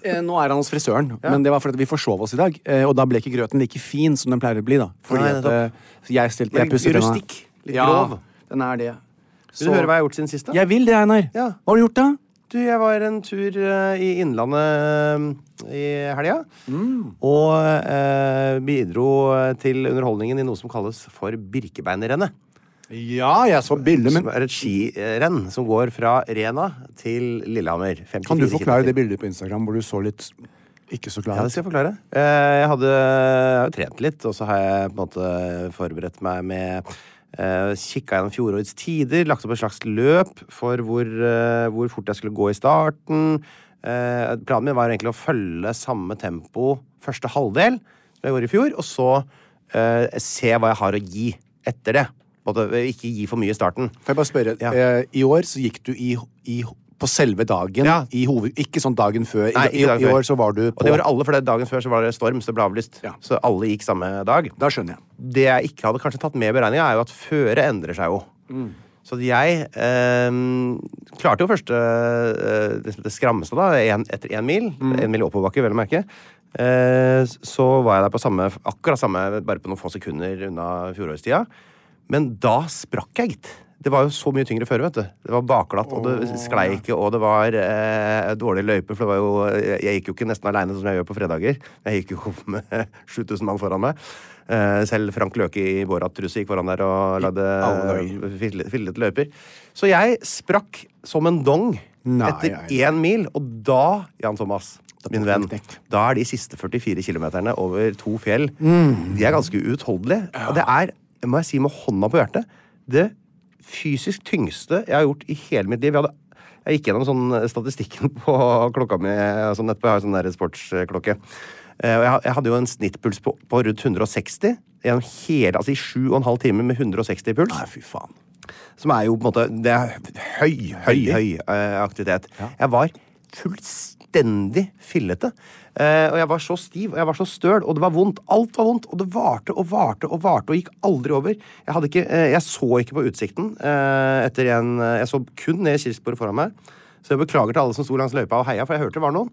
C: eh, nå er han hos frisøren, men det var fordi at vi forsov oss i dag. Eh, og da ble ikke grøten like fin som den pleier å bli, da. Fordi
A: Nei,
C: at eh, jeg stilte jeg
A: Litt
C: pusset tenna.
A: rustikk, litt
C: ja,
A: grov.
C: Den er det.
A: Vil du høre hva jeg har gjort siden sist, da?
C: Jeg vil det, Einar.
A: Ja.
C: Hva har du gjort, da?
A: Du, jeg var en tur eh, i Innlandet eh, i helga. Og eh, bidro eh, til underholdningen i noe som kalles for Birkebeinerrennet.
C: Ja, jeg så bildet,
A: Som er et skirenn som går fra Rena til Lillehammer. 54
C: Kan du forklare
A: kilometer.
C: det bildet på Instagram hvor du så litt ikke så
A: Ja,
C: klar ut?
A: det skal jeg forklare. Eh, Jeg hadde jeg har jo trent litt, og så har jeg på en måte forberedt meg med Uh, Kikka gjennom fjorårets tider, lagt opp et slags løp for hvor, eh, hvor fort jeg skulle gå i starten. Eh, planen min var egentlig å følge samme tempo første halvdel som jeg gjorde i fjor, og så eh, se hva jeg har å gi etter det. På en måte, ikke gi for mye i starten.
C: Får jeg bare spørre,
A: Ja.
C: eh, I år så gikk du i, i på selve dagen.
A: Ja.
C: I hoved, ikke sånn dagen før. I,
A: Nei, ikke
C: i,
A: dagen
C: I
A: før.
C: år så var du
A: Og
C: på
A: det gjorde alle, for det dagen før så var det storm, så det ble avlyst.
C: Ja.
A: Så alle gikk samme dag.
C: Da skjønner jeg.
A: det jeg ikke hadde kanskje tatt med i beregninga, er jo at føret endrer seg jo. Så jeg eh, klarte jo første eh, det, det skrammeste, da, en, etter én mil. Én mil oppoverbakke, vel å merke. Eh, så var jeg der på samme, akkurat samme, bare på noen få sekunder unna fjorårstida. Men da sprakk jeg, gitt. Det var jo så mye tyngre føre, vet du. Det var bakglatt, og det sklei ikke, og det var eh, dårlige løyper, for det var jo Jeg gikk jo ikke nesten aleine, som jeg gjør på fredager. Jeg gikk jo med 7000 mann foran meg. Eh, selv Frank Løke i Borat-truse gikk foran der og lagde
C: alle
A: fille- fillete løyper. Så jeg sprakk som en dong
C: Nei,
A: etter
C: nei, nei.
A: én mil, og da, Jan Thomas, min
C: tok
A: venn,
C: det en knekk.
A: da er de siste 44 kilometerne over to fjell
C: Mm.
A: De er ganske uutholdelige. Og det er, må jeg si med hånda på hjertet, det fysisk tyngste jeg har gjort i hele mitt liv. Jeg, hadde, jeg gikk gjennom sånn statistikken på klokka mi altså nettopp. Jeg har sånn der sportsklokke. Eh, Og jeg, jeg hadde jo en snittpuls på, på rundt 160 gjennom hele, altså i sju og en halv time med 160 i puls.
C: Nei, fy faen.
A: Som er jo på en måte Det er høy, høy, høy eh, aktivitet. Jeg var fullstendig fillete. Eh, og jeg var så stiv, og jeg var så støl, og det var vondt. Alt var vondt, og det varte og varte og varte og gikk aldri over. Jeg, hadde ikke, eh, jeg så ikke på utsikten eh, etter en Jeg så kun ned i kirkesporet foran meg. Så jeg beklager til alle som sto langs løypa og heia, for jeg hørte det var noen.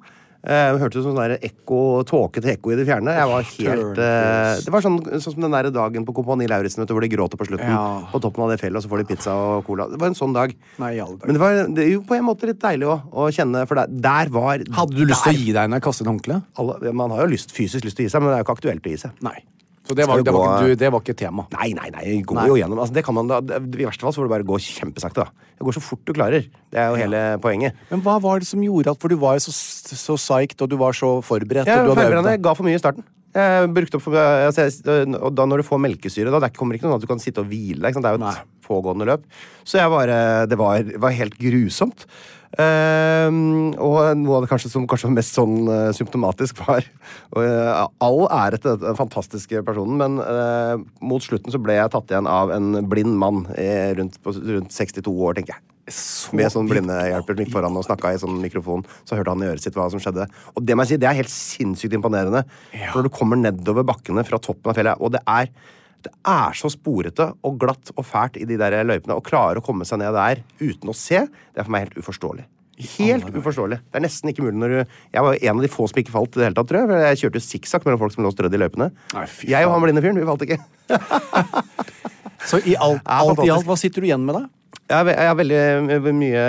A: Eh, Jeg hørte sånn der ekko, tåkete ekko i det fjerne. Jeg var helt eh, Det var sånn, sånn som den der dagen på Kompani Lauritzen vet du, hvor de gråter på slutten.
C: Ja.
A: På toppen av det fjellet, og så får de pizza og cola. Det var en sånn dag.
C: Nei, i alle dager.
A: Men det var det er jo på en måte litt deilig òg, å kjenne For der, der var
C: Hadde du lyst til å
A: der-
C: gi deg når jeg kastet håndkleet?
A: alle, Man har jo lyst, fysisk lyst til å gi seg, men det er jo ikke aktuelt å gi seg.
C: Nei. Så det var,
A: Skal
C: det
A: vi
C: var,
A: gå-
C: ikke, du, det var ikke et tema.
A: Nei, nei, nei. jeg Går
C: Nei.
A: jo gjennom. Altså, det kan man, da, I verste fall så får du bare gå kjempesakte. da. Det går så fort du klarer. Det er jo hele poenget.
C: Men hva var det som gjorde at For du var jo så, så psyched, og du var så forberedt. og
A: Jeg,
C: du hadde øvd
A: forberedte,
C: deg.
A: jeg ga for mye i starten. Jeg brukte opp for, altså, jeg, og da når du får melkesyre, da det kommer ikke noe sånn at du kan sitte og hvile. deg, Ikke sant? Det er jo et
C: Nei.
A: pågående løp. Så jeg bare, det var, var helt grusomt. Ehm, og noe av det kanskje som kanskje var mest sånn eh, symptomatisk, var og, eh, All ære til den fantastiske personen, men eh, mot slutten så ble jeg tatt igjen av en blind mann eh, rundt, på, rundt 62 år, tenker jeg.
C: Så
A: med sånn
C: dypt
A: blindehjelper som gikk foran og snakka i sånn mikrofon. Så hørte han i øret sitt hva som skjedde. Og det må jeg si, det er helt sinnssykt imponerende. For når du kommer nedover bakkene fra toppen av fjellet, og det er, det er så sporete og glatt og fælt i de der løypene, og klare å komme seg ned der uten å se, det er for meg helt uforståelig. Helt uforståelig. Det er nesten ikke mulig når du Jeg var jo en av de få som ikke falt i det hele tatt, tror jeg. for Jeg kjørte jo sikksakk mellom folk som lå strødd i løypene.
C: Nei, fy
A: jeg og
C: faen.
A: han blinde fyren, vi falt ikke.
C: Så i alt,
A: Ja,
C: alt i
A: fantastisk.
C: alt, hva sitter du igjen med, da?
A: Jeg har, ve- jeg har veldig eh, mye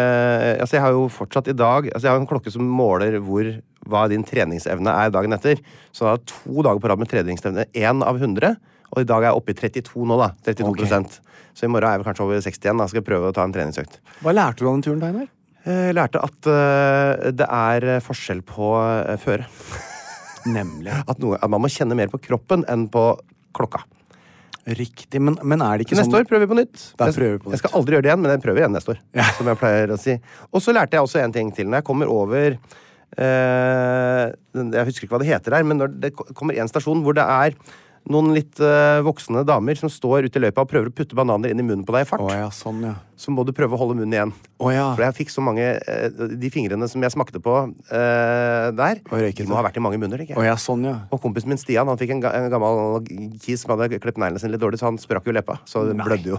A: Altså, jeg har jo fortsatt i dag Altså, jeg har en klokke som måler hvor hva din treningsevne er dagen etter. Så jeg har to dager på rad med treningsevne. Én av 100. Og i dag er jeg oppe i 32 nå, da. 32 prosent. Så i morgen er jeg vel kanskje over 60 igjen. Da skal jeg prøve å ta en treningsøkt.
C: Hva lærte du av den turen, Steinar?
A: Jeg lærte at eh, det er eh, forskjell på eh, føre.
C: Nemlig.
A: At, noe, at man må kjenne mer på kroppen enn på klokka.
C: Riktig. Men, men er det ikke
A: Neste
C: sånn
A: år prøver vi på nytt.
C: Da
A: Jeg-
C: prøver vi på
A: Jeg skal
C: nytt.
A: aldri gjøre det igjen, men jeg prøver igjen neste år. Som jeg pleier å si. Og så lærte jeg også en ting til. Når jeg kommer over eh, den- Jeg husker ikke hva det heter her, men når det ko- kommer en stasjon hvor det er noen litt eh, voksne damer som står ute i løypa og prøver å putte bananer inn i munnen på deg i fart,
C: Å ja, sånn, ja.
A: så må du prøve å holde munnen igjen.
C: Å ja.
A: For jeg fikk så mange eh, De fingrene som jeg smakte på eh, der,
C: Og røyket.
A: de må ha vært i mange munner, tenker jeg.
C: Å ja, sånn, ja.
A: Og kompisen min Stian han fikk en, ga en gammel kis som hadde klippet neglene sine litt dårlig, så han sprakk jo leppa. Så det blødde jo.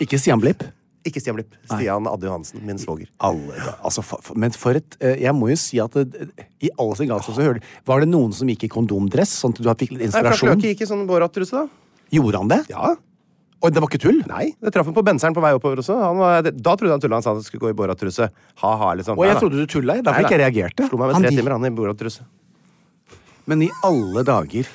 C: Ikke Stian Blipp.
A: Ikke Stian Blipp. Stian Adde Johansen, min svoger.
C: Alle, da- altså, fa- fa- men for et eh, Jeg må jo si at det, i all sin galskap så hører du Var det noen som gikk i kondomdress, sånn at du fikk litt
A: Nei, Lars
C: inspirasjon?
A: Løkke gikk i sånn Borat-truse, da.
C: Gjorde han det?
A: Ja.
C: Og det var ikke tull?
A: Nei, det traff han på benseren på vei oppover også. Han var, det- da trodde han tulla han sa han skulle gå i Borat-truse. Ha-ha, liksom.
C: Og jeg
A: Nei, da.
C: trodde du tulla. Derfor
A: Nei,
C: ikke jeg
A: nei.
C: reagerte.
A: Slo meg med
C: Han
A: tre
C: gikk-
A: timer, han i Borat-truse.
C: Men i alle dager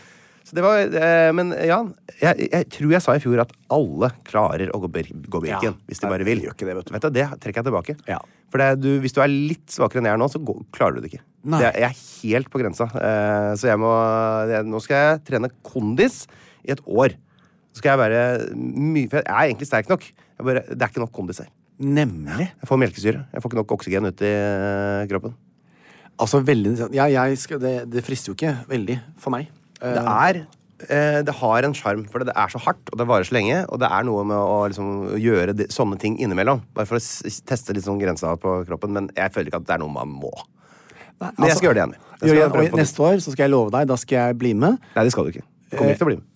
A: Så det var eh, Men Jan, jeg, jeg tror jeg sa i fjor at alle klarer å gå, bir gå
C: Ja.
A: Birken hvis de
C: Nei,
A: bare vil.
C: vi gjør ikke det, vet du.
A: det trekker jeg tilbake.
C: Ja.
A: For det, du, hvis du er litt svakere enn jeg er nå, så går, klarer du det ikke.
C: Nei.
A: Det, jeg er helt på grensa. Eh, så jeg må jeg, Nå skal jeg trene kondis i et år. Så skal jeg være mye For jeg er egentlig sterk nok. Jeg bare, det er ikke nok kondis her.
C: Nemlig.
A: Jeg får melkesyre. Jeg får ikke nok oksygen ut i eh, kroppen.
C: Altså veldig Ja, jeg skal, det, det frister jo ikke veldig for meg. Eh,
A: Det er eh, Det har en sjarm, for det er så hardt, og det varer så lenge. Og det er noe med å liksom, gjøre de, sånne ting innimellom. Bare for å s teste litt sånn grensa på kroppen. Men jeg føler ikke at det er noe man må.
C: nei,
A: Men jeg skal gjøre det igjen. Jeg skal
C: gjør det,
A: prøve på
C: og
A: nytt.
C: neste år så skal jeg love deg, da skal jeg bli med.
A: Nei, det skal du ikke. Du Kommer ikke til å bli med.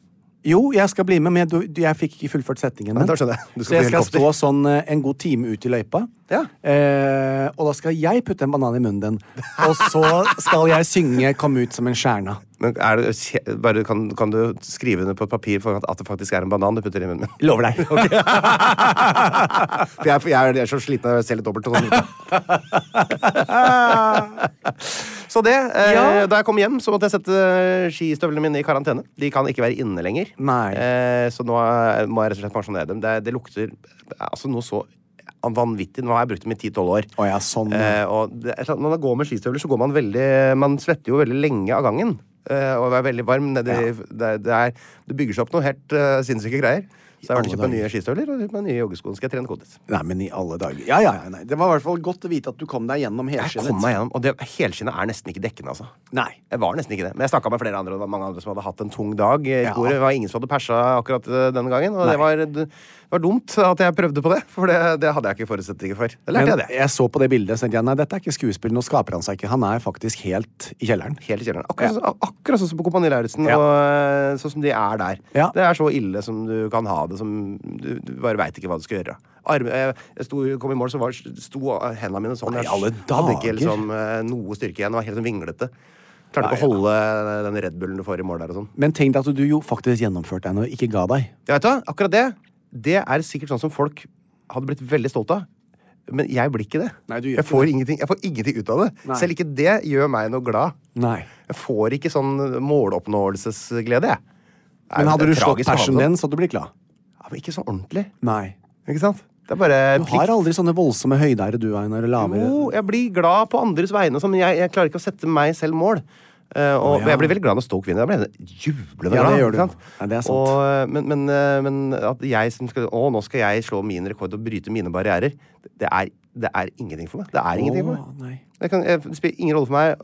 C: Jo, jeg skal bli med, men du, du- jeg fikk ikke fullført setningen min.
A: da skjønner jeg. Du skal
C: Så jeg
A: bli
C: skal stå
A: helikopter.
C: sånn eh, en god time ut i løypa.
A: Ja.
C: Eh, og da skal jeg putte en banan i munnen din. Og så skal jeg synge 'Kom ut som en stjerne'.
A: Men er det, kje- bare, kan, kan du skrive under på et papir for at, at det faktisk er en banan du putter i munnen min?
C: Lover deg.
A: For jeg, for jeg er så sliten av å se litt dobbelt. og Sånn. så det. Eh,
C: Ja.
A: Da jeg kom hjem, så måtte jeg sette eh, skistøvlene mine i karantene. De kan ikke være inne lenger.
C: Nei.
A: Eh, så nå eh, må jeg rett og slett pensjonere dem. Det, det lukter altså noe så vanvittig. Nå har jeg brukt dem i 10-12 år.
C: Å ja, sånn. ja.
A: Eh, og det, er sånn, når man går med skistøvler, så går man veldig Man svetter jo veldig lenge av gangen. Eh, og er veldig varm. nedi- Det, det, er, det bygger seg opp noe helt eh, sinnssyke greier. Så jeg har vært og
C: alle
A: kjøpt meg
C: dager.
A: nye skistøvler og kjøpt meg nye joggesko. Nå Skal jeg trene kondis.
C: Nei, men i alle dager. Ja, ja, ja. Nei. Det var i hvert fall godt å vite at du kom deg gjennom
A: Jeg kom
C: helskinnet.
A: meg gjennom, og det, Helskinnet er nesten ikke dekkende, altså.
C: Nei.
A: Jeg var nesten ikke det. Men jeg snakka med flere andre, og det var mange andre som hadde hatt en tung dag. eh, i
C: Ja.
A: koret. Det var ingen som hadde persa akkurat eh, denne gangen. Og
C: Nei.
A: det var, det var dumt at jeg prøvde på det, for det, det hadde jeg ikke forutsetninger for. Da lærte
C: Men
A: jeg det.
C: jeg så på det bildet og tenkte jeg, nei, dette er ikke skuespill. Nå skaper han seg ikke. Han er faktisk helt i kjelleren.
A: Helt i kjelleren. Akkurat, sånn- akkurat sånn som på Kompani Lauritzen,
C: Ja.
A: og eh, sånn som de er der.
C: Ja.
A: Det er så ille som du kan ha det, som du, du bare veit ikke hva du skal gjøre. Arme, jeg jeg sto, kom i mål, så var, sto hendene mine sånn.
C: Nei,
A: Jeg
C: alle
A: hadde ikke
C: dager.
A: liksom, eh, noe styrke igjen. Det var helt sånn vinglete. Klarte
C: Nei,
A: ikke å holde eh, den Red Bullen du får i mål der og sånn.
C: Men tenk deg at du jo faktisk gjennomførte henne og ikke ga deg.
A: Ja, vet du, hva? akkurat det, det er sikkert sånn som folk hadde blitt veldig stolt av. Men jeg blir ikke det.
C: Nei, du gjør
A: jeg,
C: ikke
A: får ingenting, jeg får ingenting ut av det.
C: Nei.
A: Selv ikke det gjør meg noe glad.
C: Nei.
A: Jeg får ikke sånn måloppnåelsesglede, jeg. Det er
C: Men
A: jo-
C: hadde du
A: det er
C: slått
A: tragisk å ha det
C: passionen
A: sånn.
C: din, så hadde du blitt glad.
A: Ja, men ikke så ordentlig.
C: Nei.
A: Ikke sant? Det er bare
C: Du har
A: plikt.
C: aldri sånne voldsomme høyder du, Einar, eller lavere.
A: Jo, jeg blir glad på andres vegne, og sånn, men jeg, jeg klarer ikke å sette meg selv mål. Eh, og
C: Å,
A: men Jeg
C: ja.
A: blir veldig glad når Stoke vinner. Da blir jeg jublende
C: Ja,
A: glad.
C: det gjør
A: ikke
C: du.
A: sant?
C: Ja, det er sant.
A: Og, eh, men, men, eh, men at jeg som skal Å, nå skal jeg slå min rekord og bryte mine barrierer. Det er, det er ingenting for meg. Det er ingenting for
C: Å,
A: meg.
C: nei.
A: Det, kan, jeg, det spiller ingen rolle for meg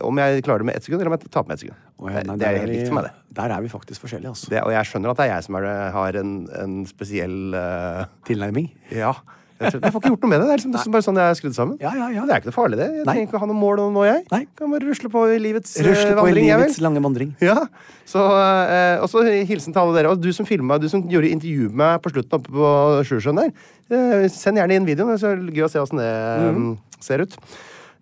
A: om jeg klarer det med ett sekund, eller om jeg taper med ett sekund.
C: Å, ja, nei,
A: det, det
C: der
A: er helt
C: vi-
A: likt for meg, det.
C: Der er vi faktisk forskjellige, altså.
A: Det, og jeg skjønner at det er jeg som er, har en, en spesiell eh,
C: Tilnærming.
A: Ja. Jeg tror- jeg får ikke gjort noe med det. Det er liksom det er bare sånn jeg er skrudd sammen.
C: Ja, ja, ja.
A: Det er ikke noe farlig, det. Jeg
C: Nei.
A: trenger ikke å ha noe mål nå, jeg.
C: Nei.
A: Kan bare rusle på i livets eh,
C: Rusle på i
A: vandring, jeg
C: livets
A: vil.
C: lange vandring.
A: Ja, så eh, Og så hilsen til alle dere. Og du som filma, du som gjorde intervju med meg på slutten oppe på Sjusjøen der, eh, send gjerne inn videoen. Det er så gøy å se åssen det
C: Mhm.
A: eh, ser ut.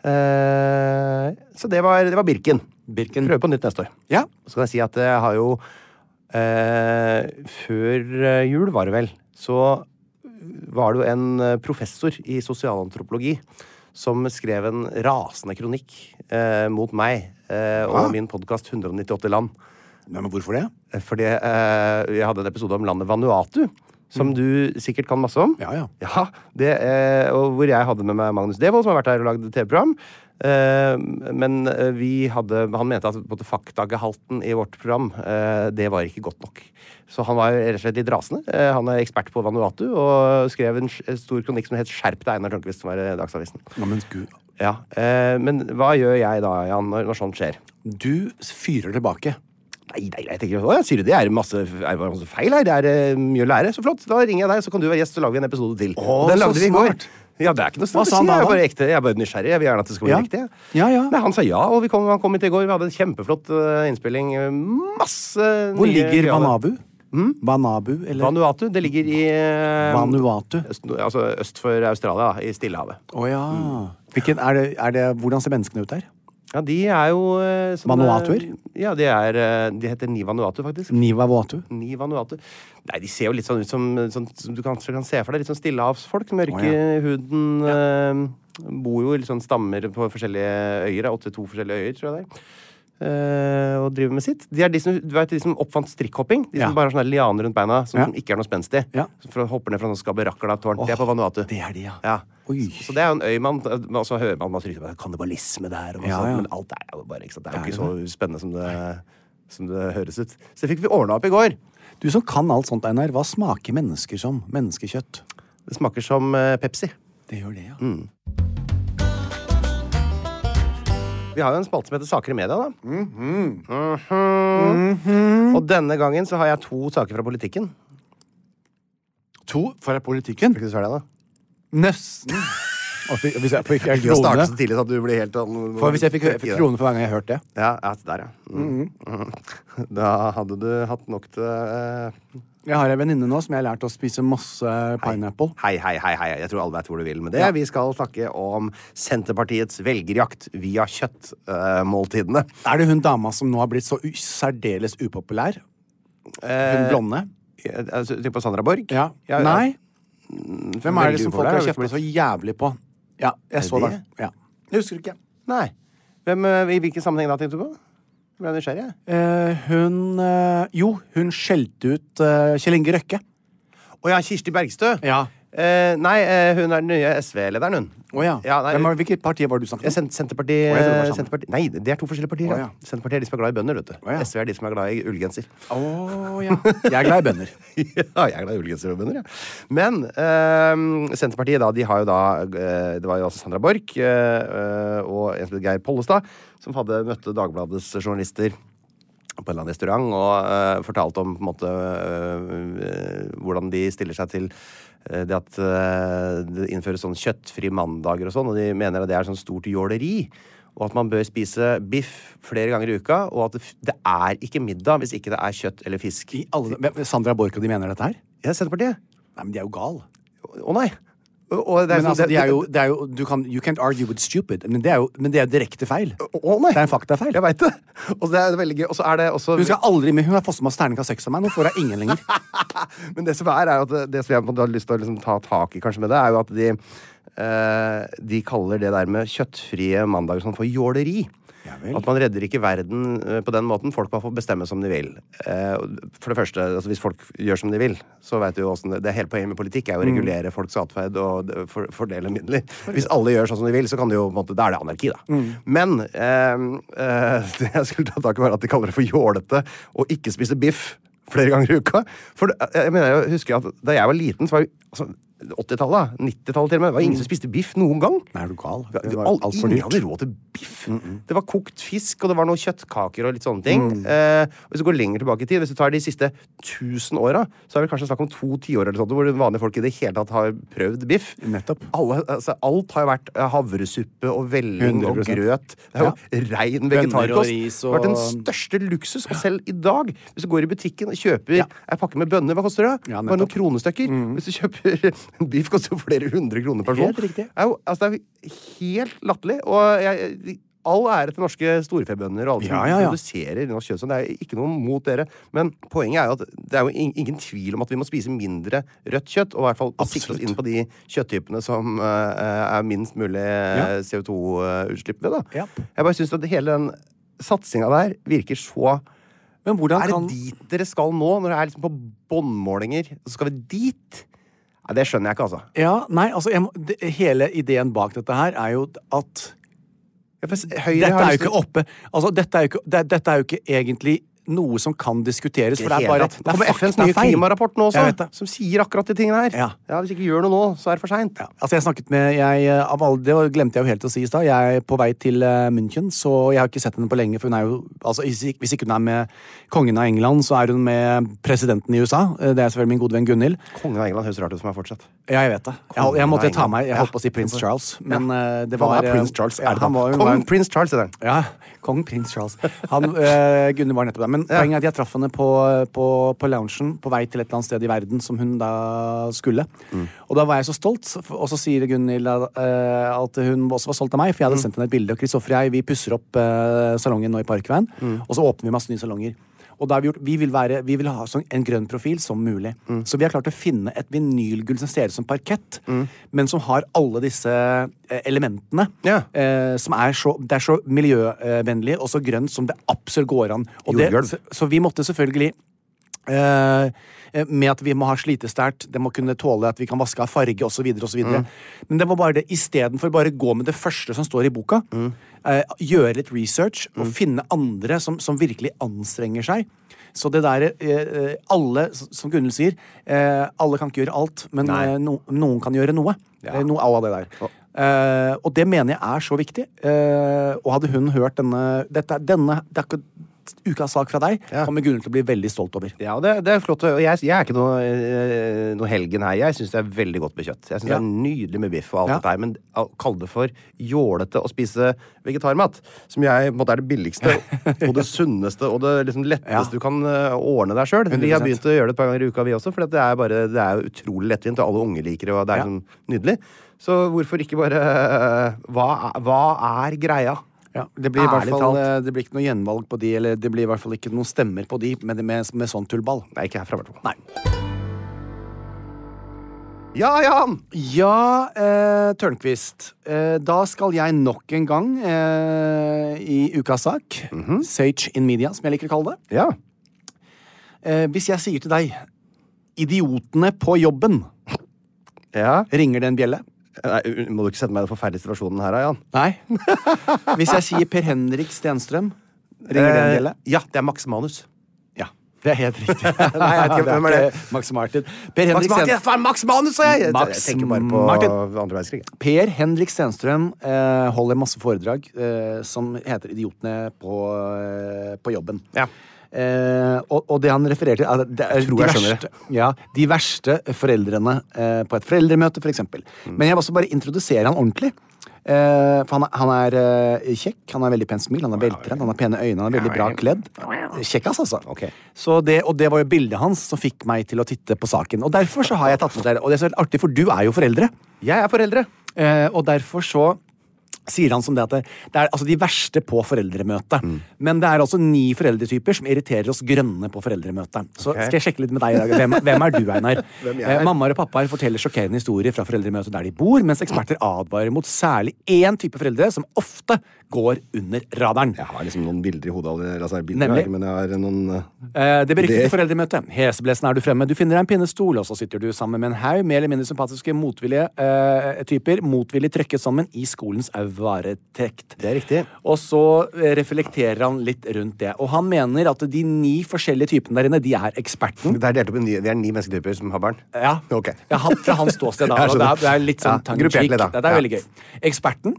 A: Eh, så det var, det var Birken.
C: Birken.
A: Prøve på nytt neste år.
C: Ja.
A: Så kan jeg si at jeg har jo eh, Før eh, jul, var det vel, så var det jo en eh, professor i sosialantropologi som skrev en rasende kronikk eh, mot meg eh, og
C: Ah.
A: min podkast 198 land.
C: Men hvorfor det?
A: Eh, Fordi eh, jeg hadde en episode om landet Vanuatu, som du sikkert kan masse om.
C: Ja, ja.
A: Ja, det, eh, og hvor jeg hadde med meg Magnus Devold, som har vært her og lagd TV-program. Eh, men eh, vi hadde, han mente at både faktagehalten i vårt program eh, det var ikke godt nok. Så han var rett og slett litt rasende. Eh, han er ekspert på Vanuatu og skrev en sj- stor kronikk som het 'Skjerp deg, Einar Tørnquist', som var i Dagsavisen.
C: Ja, men gud.
A: Ja, eh, Men hva gjør jeg da, Jan, når, når sånt skjer?
C: Du fyrer tilbake.
A: Nei, nei, jeg tenker, å, jeg sier det, det er masse, er masse feil her, det er eh, mye å lære. Så flott, da ringer jeg deg, så kan du være gjest, så lager vi en episode til.
C: Å,
A: Og den
C: så
A: lagde vi i går.
C: smart.
A: Ja, det er ikke noe
C: Hva
A: strategi,
C: sa han da,
A: jeg er
C: da?
A: bare ekte, jeg er bare nysgjerrig, jeg vil gjerne at det skal bli
C: Ja.
A: riktig. jeg.
C: Ja, ja.
A: Nei, han sa ja, og vi kom, han kom hit i går, vi hadde en kjempeflott eh, innspilling, eh, masse...
C: Hvor
A: nye
C: ligger
A: greier.
C: Vanabu? Hmm? Vanabu, eller
A: Vanuatu, det ligger i... eh,
C: Vanuatu?
A: Øst, altså øst for Australia, da, i Stillehavet.
C: Å ja. Hmm. Hvilken, er det, er det, hvordan ser menneskene ut der?
A: Ja, de er jo... eh, sånne-
C: Vanuatuer?
A: Ja, de, er, eh, de heter Ni Vanuatu, faktisk.
C: Niva Watu?
A: Ni Vanuatu. Nei, de ser jo litt sånn ut som, sånn, som du kanskje kan se for deg. Litt sånn stillehavsfolk. Mørke
C: Å, ja.
A: i huden. eh, bor jo i litt sånn stammer på forskjellige øyer. det er 82 forskjellige øyer, tror jeg det er. eh, og driver med sitt. De er de som, du vet, de som oppfant strikkhopping. De
C: Ja.
A: som bare har sånne lianer rundt beina som,
C: Ja.
A: som ikke er noe spenst i.
C: Ja.
A: For å hoppe ned fra sånn noe skaberrakla-tårn. det er på Vanuatu.
C: det er de, ja.
A: ja.
C: Oi.
A: Så, så det er jo en øy man Og så hører man masse rykter om kannibalisme der, og masse,
C: Ja, ja.
A: sånt, men alt er jo bare ikke sant? Det er jo ikke så spennende som det, som det høres ut. Så det fikk vi ordna opp i går.
C: Du som kan alt sånt, Einar. Hva smaker mennesker som? Menneskekjøtt. Hmm.
A: Det smaker som eh, Pepsi.
C: Det gjør det, ja.
A: Vi har jo en spalte som heter Saker i media, da. Mhm.
C: Mm-hmm.
A: Og denne gangen så har jeg to saker fra politikken.
C: To fra politikken.
A: Vil du svare deg, da?
C: Nesten. Og fikk, hvis jeg fikk en
A: Du starter
C: krone
A: så tidlig at du blir helt sånn-
C: Hmm. for Hvis jeg fikk, jeg fikk krone for hver gang jeg hørte det.
A: Ja, ja, der, ja. Mhm. Mhm. Da hadde du hatt nok til eh,
C: Jeg har ei venninne nå som jeg har lært å spise masse pineapple.
A: Hei, hei, hei, hei. Jeg tror alle vet hvor du vil med det.
C: Ja.
A: Vi skal snakke om Senterpartiets velgerjakt via kjøttmåltidene.
C: Er det hun dama som nå har blitt så u- særdeles upopulær? Hun blonde?
A: Eh, altså, Typ på Sandra Borg?
C: Ja.
A: Ja, ja.
C: Nei? Hvem er det
A: veldig
C: som folk
A: upopulær,
C: har
A: har
C: kjefta
A: blitt-
C: så jævlig på? Ja, jeg så det.
A: det?
C: Ja. Jeg husker ikke.
A: Nei. Hvem, eh, I hvilken sammenheng da, tenkte du på? Ble jeg nysgjerrig? jeg.
C: Eh, hun eh, Jo, hun skjelte ut eh, Kjell Inge Røkke.
A: Å ja, Kirsti Bergstø?
C: Ja.
A: Eh, nei, eh, hun er den nye SV-lederen, hun.
C: Å ja.
A: nei,
C: Hvem var- Hvilket parti var det du
A: Ja,
C: snakket om?
A: Sen- Senterpartiet,
C: Å, jeg trodde det var samme.
A: Senterpartiet Nei, det er to forskjellige partier.
C: Å,
A: ja.
C: ja.
A: Senterpartiet er de som er glad i bønder. vet du
C: ja.
A: SV er de som er glad i ullgenser.
C: Å ja. Jeg er glad i bønder.
A: ja, jeg er glad i ullgenser og bønder, ja. Men eh, Senterpartiet, da, de har jo da eh, Det var jo altså Sandra Borch eh, eh, og en som het Geir Pollestad, som hadde møtte Dagbladets journalister på en eller annen restaurant og eh, fortalte om på en måte eh, hvordan de stiller seg til eh, det at eh, det innføres sånn kjøttfri mandager og sånn, og de mener at det er sånn stort jåleri. Og at man bør spise biff flere ganger i uka, og at det, f- det er ikke middag hvis ikke det er kjøtt eller fisk.
C: I alle, Hvem- Sandra Borch og de mener dette her?
A: Ja, Senterpartiet.
C: Nei, men de er jo gal.
A: Å nei! Og- og det er
C: Men
A: sånn-
C: altså,
A: det-
C: de er jo, det er jo du kan, You can't argue with stupid. Men det er jo, men det er jo direkte feil.
A: Å nei!
C: Det er en faktafeil.
A: Jeg veit det! Og det er veldig gøy. Og så er det også
C: Hun skal aldri med, hun har fått med oss terningkast seks av meg. Nå får hun ingen lenger.
A: Men det som er, er jo at det- det som jeg på en måte har lyst til å liksom ta tak i kanskje med det, er jo at de eh, de kaller det der med kjøttfrie mandager og sånn for jåleri.
C: Ja vel.
A: At man redder ikke verden eh, på den måten. Folk må få bestemme som de vil. Eh, og For det første, altså hvis folk gjør som de vil, så vet du jo åssen det Det er hele poenget med politikk
C: Mm.
A: er jo å regulere folks atferd og eh, for, fordele midler. Hvis alle gjør sånn som de vil, så kan det jo på en måte Da er det anarki, da.
C: Mm.
A: Men eh, eh, det jeg skulle ta tak i, var at de kaller det for jålete å ikke spise biff flere ganger i uka. For det- jeg mener, jeg husker at da jeg var liten, så var jo altså,
B: 80-tallet, 90-tallet til og med. Det var ingen som spiste biff noen gang.
A: Nei, er du gal?
B: Det
A: Det
B: var
A: var alt for
B: ingen
A: dyrt.
B: hadde råd til biff. Det var kokt fisk, og det var noen kjøttkaker og litt sånne ting.
A: Mm.
B: Eh, hvis du går lenger tilbake i tid, hvis du tar de siste 1000 åra, så er det kanskje snakk om to tiår eller sånt, hvor vanlige folk i det hele tatt har prøvd biff.
A: Nettopp.
B: Alle, altså, alt har jo vært eh, havresuppe og velling og
A: 100%.
B: grøt. Det er jo rein
G: Bønner og
B: vegetarkost.
G: ris
B: Det har
G: og-
B: vært den største luksus. Og selv i dag, hvis du går i butikken og kjøper en pakke med bønner, hva koster det?
A: Ja,
B: Bare
A: nettopp. Mm.
B: noen kronestykker. Hvis du kjøper en biff, koster det flere hundre kroner per person.
A: Helt riktig.
B: Det er jo, altså, det er jo helt latterlig. Og jeg, all ære til norske storfebønder og alle som
A: Ja, ja, ja.
B: produserer norsk kjøttsand. Det er jo ikke noe mot dere. Men poenget er jo at det er jo ing- ingen tvil om at vi må spise mindre rødt kjøtt. Og i hvert fall sikte oss
A: Absolutt.
B: inn på de kjøtttypene som eh, er minst mulig eh, CO2-utslipp ved. Da.
A: Ja.
B: Jeg bare syns at hele den satsinga der virker så
G: Men hvordan
B: Er det
G: kan
B: dit dere skal nå, når det er liksom på båndmålinger? Så skal vi dit? Nei, det skjønner jeg ikke, altså.
A: Ja, nei, altså jeg må, det, Hele ideen bak dette her er jo at
B: Ja, for s- Høyre
A: Dette
B: har
A: er jo
B: lyst til-
A: ikke oppe altså, dette, er jo ikke, det, dette er jo ikke egentlig noe som kan diskuteres, for det er bare
B: Hele tatt. Det kommer FNs nye klimarapport nå
A: Jeg vet
B: også,
A: det.
B: som sier akkurat de tingene her.
A: Ja.
B: Hvis ikke vi gjør noe nå, så er det for seint.
A: Ja, altså jeg snakket med jeg, eh, av alle, Det var- glemte jeg jo helt å si i stad. Jeg er på vei til eh, München, så jeg har ikke sett henne på lenge. For hun er jo, altså Hvis ikke- hvis ikke hun er med kongen av England, så er hun med presidenten i USA. Eh, Det er selvfølgelig min gode venn Gunhild.
B: Kongen av England høres rart ut for meg fortsatt.
A: Ja, jeg vet det. Jeg, jeg måtte ta meg, jeg holdt på å si
B: Kongen av
A: prins
B: England.
A: Charles, men eh,
B: Han
A: det var
B: er
A: eh,
B: prins Charles.
A: Ja,
B: er det
A: han
B: da?
A: var, hun var
B: Kong
A: en-
B: prins Charles heter han.
A: Ja, kong prins Charles. Han, øh, Gunhild var nettopp der. Men poenget er at jeg traff henne på, på, på loungen på vei til et eller annet sted i verden som hun da skulle. Og da var jeg så stolt, og så sier Gunhild øh, at hun også var stolt av meg, for jeg hadde sendt henne et bilde. Og Kristoffer og jeg vi pusser opp øh, salongen nå i Parkveien, og så åpner vi masse nye salonger. Og da har Vi gjort, vi vil, være, vi vil ha sånn, en grønn profil som mulig. Så vi har klart å finne et vinylgull som ser ut som parkett, men som har alle disse eh, elementene.
B: Ja.
A: Eh, som er så, det er så miljøvennlig og så grønt som det absolutt går an. Og det,
B: Jordgulv.
A: så, så vi måtte selvfølgelig eh, eh, med at vi må ha slitestært, det må kunne tåle at vi kan vaske av farge osv. videre Men det var bare det istedenfor bare gå med det første som står i boka. Eh, gjøre litt research og finne andre som, som virkelig anstrenger seg. Så det derre eh, eh, Alle, s- som Gunhild sier, eh, alle kan ikke gjøre alt, men
B: Nei.
A: eh, no, noen kan gjøre noe. Eh, Noe av det der. Eh, og det mener jeg er så viktig. Eh, og hadde hun hørt denne dette, denne, det er ikke ukas sak fra deg, kommer Gunhild til å bli veldig stolt over.
B: Ja, og det, det er flott. Og jeg, jeg er ikke noe, eh, noe helgen her. Jeg syns det er veldig godt med kjøtt. Jeg synes det
A: Ja.
B: er Nydelig med biff og alt
A: Ja.
B: dette her, men å kalle det for jålete å spise vegetarmat, som jeg på en måte er det billigste og det sunneste og det liksom letteste
A: Ja.
B: du kan eh, ordne deg sjøl. Vi har
A: 100%.
B: begynt å gjøre det et par ganger i uka, vi også, for det er, bare, det er jo utrolig lettvint, og alle unge liker det, og det er
A: Ja.
B: liksom nydelig. Så hvorfor ikke bare eh, hva, er- hva er greia?
A: Ja, det, blir i hvert
B: Ærlig
A: fall,
B: talt.
A: eh, det blir ikke noe gjenvalg på de, eller det blir i hvert fall ikke noen stemmer på de med, med, med sånn tullball.
B: Nei, ikke herfra, i hvert fall.
A: Nei.
B: Ja, Jan!
A: Ja, eh, Tørnquist. Eh, da skal jeg nok en gang eh, i ukas sak, Sage in media, som jeg liker å kalle det
B: Ja.
A: eh, Hvis jeg sier til deg 'Idiotene på jobben',
B: ja.
A: ringer det en bjelle?
B: Nei, må du ikke sette meg i den forferdelige situasjonen her, da, Jan?
A: Nei. Hvis jeg sier Per Henrik Stenstrøm, ringer det en bjelle?
B: Eh, Ja, det er Max Manus.
A: Ja. Eh, Det er helt riktig.
B: Nei, jeg vet ikke hvem er det.
A: ikke Max Martin. Per
B: Max Manus,
A: Henrik, Sten
B: det er Max Manus, sa jeg!
A: Max
B: jeg tenker bare på
A: Martin.
B: andre verdenskrig.
A: per Henrik Stenstrøm eh, holder masse foredrag eh, som heter 'Idiotene på, eh, på jobben'.
B: Ja.
A: Eh, og, og det han refererer til er, at det er
B: tror
A: de,
B: jeg skjønner
A: verste, ja, de verste foreldrene eh, på et foreldremøte, f.eks. eksempel
B: Mm.
A: Men jeg vil også bare introdusere han ordentlig. Eh, for han, er- han er eh, kjekk, han har veldig pent smil, han er veltrent, han har pene øyne, han er veldig bra kledd. Kjekkas, altså.
B: Ok.
A: Så det, og det var jo bildet hans som fikk meg til å titte på saken. Og derfor så har jeg tatt med deg det. Og det er så artig, for du er jo foreldre.
B: Jeg er foreldre.
A: Eh, og derfor så sier han som det at det, det er altså de verste på foreldremøtet.
B: Mm.
A: Men det er altså ni foreldretyper som irriterer oss grønne på foreldremøtet. Så skal jeg sjekke litt med deg i dag. Hvem, hvem er du, Einar? Eh, mammaer og pappaer forteller sjokkerende historier fra foreldremøtet der de bor, mens eksperter advarer mot særlig én type foreldre som ofte går under radaren.
B: Jeg har liksom noen bilder i hodet allerede. Altså, bilder,
A: Nemlig.
B: Men jeg har noen eh,
A: Eh, Det beryktede
B: Det-
A: foreldremøtet. Heseblesen er du fremme. Du finner deg en pinnestol, og så sitter du sammen med en haug mer eller mindre sympatiske motvillige eh, typer, motvillig trøkket sammen i skolens au varetekt.
B: Det er riktig.
A: Og så eh, reflekterer han litt rundt det. Og han mener at de ni forskjellige typene der inne, de er eksperten.
B: Det er delt opp i ni, det er ni mennesketyper som har barn.
A: Ja,
B: Ok.
A: ja han, fra hans ståsted, da.
B: Jeg
A: og Det er,
B: skjønner.
A: det er litt sånn
B: Ja,
A: tongue in cheek.
B: gruppert litt, da.
A: Dette er
B: Ja.
A: veldig gøy. Eksperten.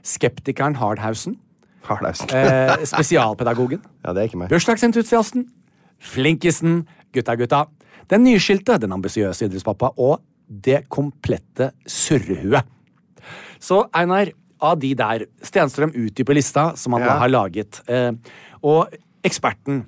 A: Skeptikeren Hardhausen.
B: Hardhausen.
A: Eh, spesialpedagogen.
B: Ja, det er ikke meg.
A: Bursdagsentusiasten. Flinkisen. Gutta, gutta. Den nyskilte, den ambisiøse idrettspappa og det komplette surrehuet. Så Einar, av de der Stenstrøm utdyper lista som han da har laget. Eh, og eksperten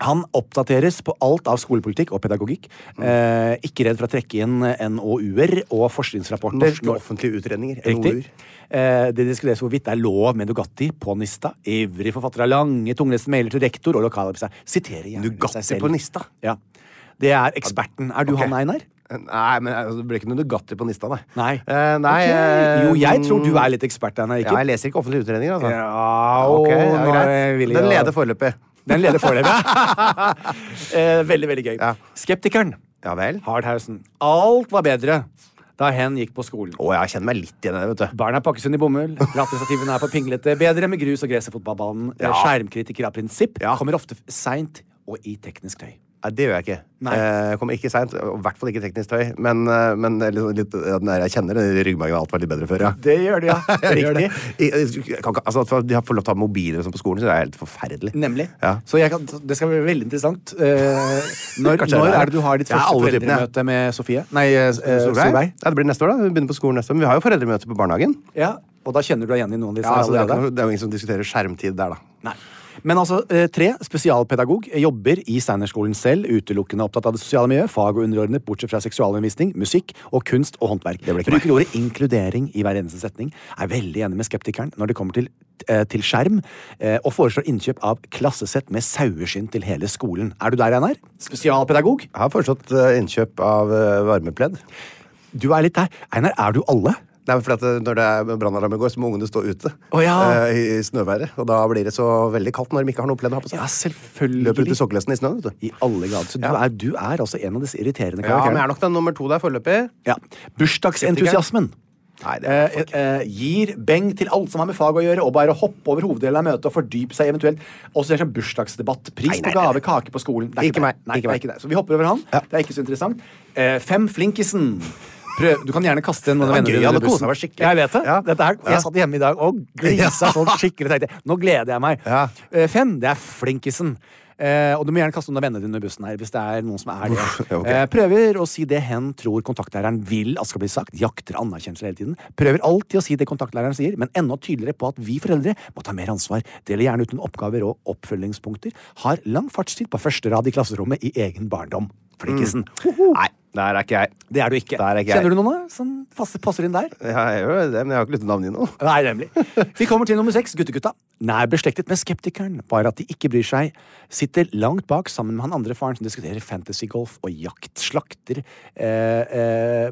A: han oppdateres på alt av skolepolitikk og pedagogikk. Eh, ikke redd for å trekke inn eh, NOU-er og forskningsrapporter.
B: Norske offentlige utredninger.
A: Riktig.
B: NOU-er.
A: Eh, det diskuteres hvorvidt det er lov med Nugatti på Nista. Ivrig forfatter av lange, tungleste mailer til rektor og lokalaviser. Siterer gjerne
B: Nugatti
A: seg selv.
B: på Nista?
A: Ja. Det er eksperten. Er du han, Einar?
B: Nei, men altså, det blir ikke noe Nugatti på nista, nei.
A: Nei.
B: Eh, nei
A: Ok.
B: eh,
A: Jo, jeg tror du er litt ekspert, Einar.
B: Ja,
A: Ikke?
B: jeg leser ikke offentlige utredninger, altså.
A: Ja,
B: Ok,
A: å,
B: ja,
A: nå er
B: greit.
A: jeg villig
B: Den
A: å-
B: leder foreløpig.
A: Den leder foreløpig. eh, veldig, veldig gøy.
B: Ja.
A: Skeptikeren.
B: Ja vel. Å,
A: Hardhausen. Alt var bedre da hen gikk på skolen.
B: jeg kjenner meg litt igjen i det, vet du.
A: Barna pakkes inn i bomull, latterstativene er for pinglete, bedre med grus og gress i fotballbanen.
B: Ja.
A: Skjermkritiker av prinsipp
B: Ja.
A: kommer ofte seint og i teknisk tøy.
B: Nei, det gjør jeg ikke.
A: Nei.
B: Eh, kommer ikke seint. I hvert fall ikke teknisk tøy. Men, eh, men det er litt, litt, ja, den der jeg kjenner det i ryggmargen alt var litt bedre før, ja.
A: Det gjør det, ja.
B: Ja,
A: Det gjør
B: riktig.
A: det.
B: I- jeg kan ikke- Altså, at de har fått lov til å ha mobiler og sånn på skolen, så det er helt forferdelig.
A: Nemlig.
B: Ja.
A: Så jeg kan, det skal bli veldig interessant. Eh, når,
B: Kanskje det er
A: når
B: det.
A: er det du har ditt
B: Jeg er
A: første
B: alle typene, jeg.
A: foreldremøte med Sofie? Nei, eh, Solveig.
B: Ja, det blir neste år, da. Vi begynner på skolen neste år. Men vi har jo foreldremøte på barnehagen.
A: Ja, og da kjenner du deg igjen i noen av disse
B: Ja, altså, det, er ikke noe,
A: allerede?
B: det er jo ingen som diskuterer skjermtid der, da.
A: Nei. Men altså, eh, tre, spesialpedagog, jobber i Steinerskolen selv, utelukkende opptatt av det sosiale miljøet, fag og underordnet, bortsett fra seksualundervisning, musikk og kunst og håndverk.
B: ble ikke
A: Bruker ordet inkludering i hver eneste setning. Er veldig enig med skeptikeren når det kommer til, eh, til skjerm, eh, og foreslår innkjøp av klassesett med saueskinn til hele skolen. Er du der, Einar? Spesialpedagog?
B: Jeg har foreslått eh, innkjøp av eh, varmepledd.
A: Du er litt der. Einar, er du alle?
B: Nei, men for at eh, Når det er brannalarm i går, så må ungene stå ute
A: Å, ja.
B: eh, i i snøværet. Og da blir det så veldig kaldt når de ikke har noe pledd å ha på seg.
A: Ja,
B: Løper ut i
A: selvfølgelig.
B: sokkelesten i snøen, vet du.
A: I alle grader. Så du, er, du er altså en av disse
B: Ja,
A: irriterende
B: men jeg
A: karakterene.
B: er nok den nummer to der foreløpig.
A: Ja. Bursdagsentusiasmen.
B: Nei, det er
A: Eh, eh, gir beng til alt som har med fag å gjøre, og bare hoppe over hoveddelen av møtet og fordype seg eventuelt. Også en sånn bursdagsdebatt. Pris
B: Nei, nei,
A: på gave,
B: nei, nei.
A: kake på skolen. Det er
B: Ikke meg,
A: det. Nei,
B: ikke
A: det er
B: meg.
A: ikke det. Så vi hopper over han. Det er ikke så interessant. Eh, fem Flinkisen. Prøv. Du kan gjerne kaste en
B: Det var gøy, jeg hadde koset meg skikkelig.
A: Jeg vet det.
B: Ja.
A: Dette her,
B: Ja.
A: jeg satt hjemme i dag og glisa sånn skikkelig. Tenkte. jeg, Nå gleder jeg meg.
B: Ja.
A: Eh, fem, det er Flinkisen. Eh, og du må gjerne kaste noen av vennene dine under bussen her. hvis det er noen som er det.
B: ok.
A: Eh, prøver å si det hen tror kontaktlæreren vil at skal bli sagt. Jakter anerkjennelse hele tiden. Prøver alltid å si det kontaktlæreren sier, men enda tydeligere på at vi foreldre må ta mer ansvar. Deler gjerne ut noen oppgaver og oppfølgingspunkter. Har lang fartstid på første rad i klasserommet i egen barndom. Flinkisen. Hoho!
B: Nei, der er ikke jeg.
A: Det er du ikke.
B: Der Mm. er ikke jeg.
A: Kjenner du noen da, som passer, passer inn der?
B: Ja, jeg gjør jo det, men jeg har ikke lyttet navnet ditt nå.
A: Nei, nemlig. Vi kommer til nummer seks, guttegutta. Nær beslektet med skeptikeren, bare at de ikke bryr seg. Sitter langt bak sammen med han andre faren som diskuterer fantasygolf og jakt. Slakter eh, eh,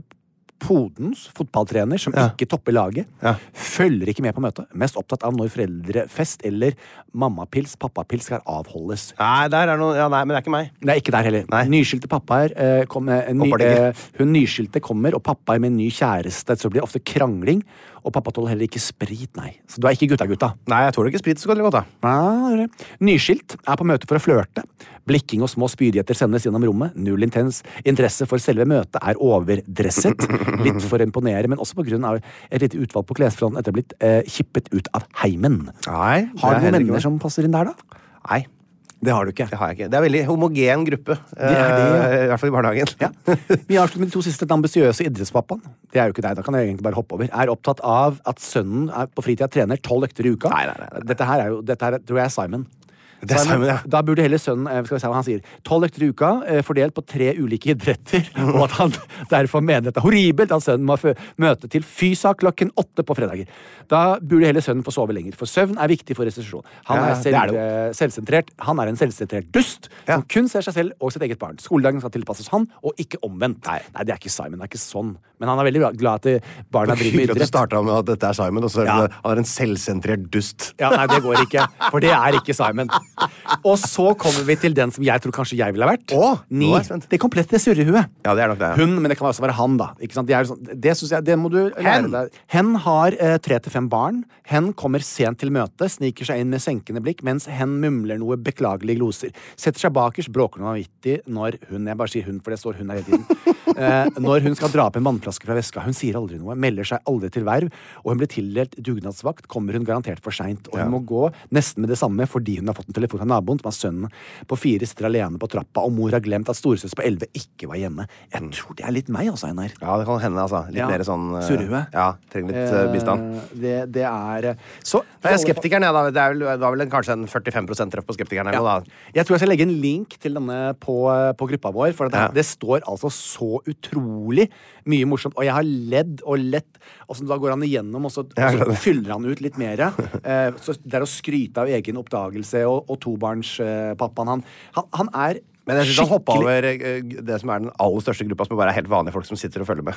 A: Podens fotballtrener som ikke topper laget. Følger ikke med på møtet. Mest opptatt av når foreldrefest eller mammapils, pappapils skal avholdes.
B: Nei, der er noe, ja, nei, men det er ikke meg.
A: Nei, ikke der heller. Nyskilte pappaer eh, kom med en ny,
B: Håper det ikke.
A: eh, Hun nyskilte kommer, og pappaer med en ny kjæreste. Så blir det ofte krangling. Og pappa tåler heller ikke sprit, nei. Så du er ikke gutta-gutta.
B: Nei, jeg tåler ikke sprit så godt. eller godt da.
A: Ja, det er det. Nyskilt er på møte for å flørte. Blikking og små spydigheter sendes gjennom rommet. Null intens. Interesse for selve møtet er overdresset. Litt for å imponere, men også på grunn av et lite utvalg på klesfronten etter å ha blitt eh, kippet ut av heimen.
B: Nei, det er
A: Har du noen
B: heller ikke
A: venner
B: meg.
A: som passer inn der, da?
B: Nei,
A: Det har du ikke.
B: det har jeg ikke. Det er en veldig homogen gruppe.
A: er det,
B: eh, I hvert fall i barnehagen.
A: Ja. Vi avslutter med de to siste. Den ambisiøse idrettspappaen. Det er jo ikke deg, da kan jeg egentlig bare hoppe over. Er opptatt av at sønnen er på fritida trener tolv økter i uka.
B: Nei, nei, nei, nei.
A: Dette her er jo, dette her er- tror jeg er Simon.
B: Det er Simon, ja.
A: Da burde heller sønnen eh, skal vi se hva han sier, tolv økter i uka eh, fordelt på tre ulike idretter, og at han derfor mener dette er horribelt at sønnen må fø- møte til fysa klokken åtte på fredager. Da burde heller sønnen få sove lenger, for søvn er viktig for restitusjon. Han
B: Ja,
A: er,
B: det
A: selv,
B: er det jo.
A: eh, selvsentrert. Han er en selvsentrert dust som kun ser seg selv og sitt eget barn. Skoledagen skal tilpasses han, og ikke omvendt. Nei, det er ikke Simon. Det er ikke sånn. Men han er veldig glad at eh, barna driver
B: Hyggelig
A: med
B: at du
A: idrett.
B: starta med at dette er Simon, og så er
A: Ja.
B: det- han er en selvsentrert dust.
A: Ja, nei, det går ikke. For det er ikke Simon. Og så kommer vi til den som jeg tror kanskje jeg ville ha vært.
B: Å, nå
A: Ni.
B: er jeg spent.
A: Det komplette surrehuet.
B: Ja, det er nok det.
A: Hun, men det kan også være han, da. Ikke sant? Det, er jo sånn, det synes jeg, det må du lære
B: Hen.
A: deg. Hen har eh, tre til fem barn. Hen kommer sent til møtet, sniker seg inn med senkende blikk, mens hen mumler noe beklagelige gloser. Setter seg bakerst, bråker noe vanvittig når hun Jeg bare sier hun, for det står hun her hele tiden. Eh, når hun skal dra opp en vannflaske fra veska. Hun sier aldri noe, melder seg aldri til verv, og hun blir tildelt dugnadsvakt, kommer hun garantert for seint. Og hun må gå nesten med det samme fordi hun har fått en telefon fra naboen, som har sønnen på fire, sitter alene på trappa, og mor har glemt at storesøster på elleve ikke var hjemme. Jeg tror det er litt meg, altså, Einar.
B: Ja, det kan hende, altså. Litt
A: Ja.
B: mer sånn eh,
A: Surrehue.
B: Ja, Trenger litt eh, bistand.
A: Eh, Det, det er eh, Så
B: Det er skeptikeren, jeg, da. Det er vel, det var vel en, kanskje en 45 treff på skeptikeren.
A: Ja.
B: Eller, noe, da.
A: Jeg tror jeg skal legge en link til denne på, eh, på gruppa vår, for at det,
B: Ja.
A: det står altså så utrolig mye morsomt. Og jeg har ledd og lett, og så da går han igjennom, og så,
B: Ja, jeg
A: og
B: skjønner.
A: så fyller han ut litt mer. Eh, så det er å skryte av egen oppdagelse og, og tobarnspappaen han, han. Han er
B: Men jeg synes han hoppa
A: skikkelig-
B: over eh, det som er den aller største gruppa, som bare er helt vanlige folk som sitter og følger med.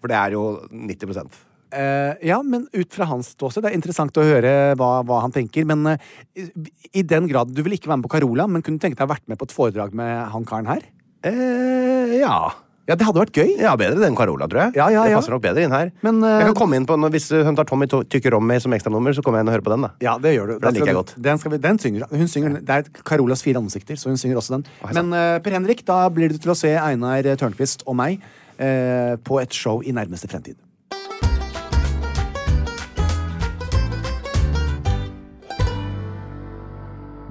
B: For det er jo 90
A: Eh, ja, men ut fra hans ståsted. Det er interessant å høre hva, hva han tenker. Men eh, i, i den grad du vil ikke være med på Carola, men kunne du tenke deg å vært med på et foredrag med han karen her?
B: Eh, ja.
A: Ja, det hadde vært gøy.
B: Ja, bedre det enn Carola, tror jeg.
A: Ja, ja,
B: Det
A: ja.
B: passer nok bedre inn her.
A: Men, eh,
B: jeg kan komme inn på, når, Hvis hun tar Tommy To- tykker om meg som ekstranummer, så kommer jeg inn og hører på den. da.
A: Ja, det gjør du.
B: For Den
A: skal
B: liker jeg
A: du-
B: godt.
A: Den, skal vi, den synger, hun synger Det er Carolas fire ansikter, så hun synger også den. Men eh, Per Henrik, da blir du til å se Einar Tørnquist og meg eh, på et show i nærmeste fremtid.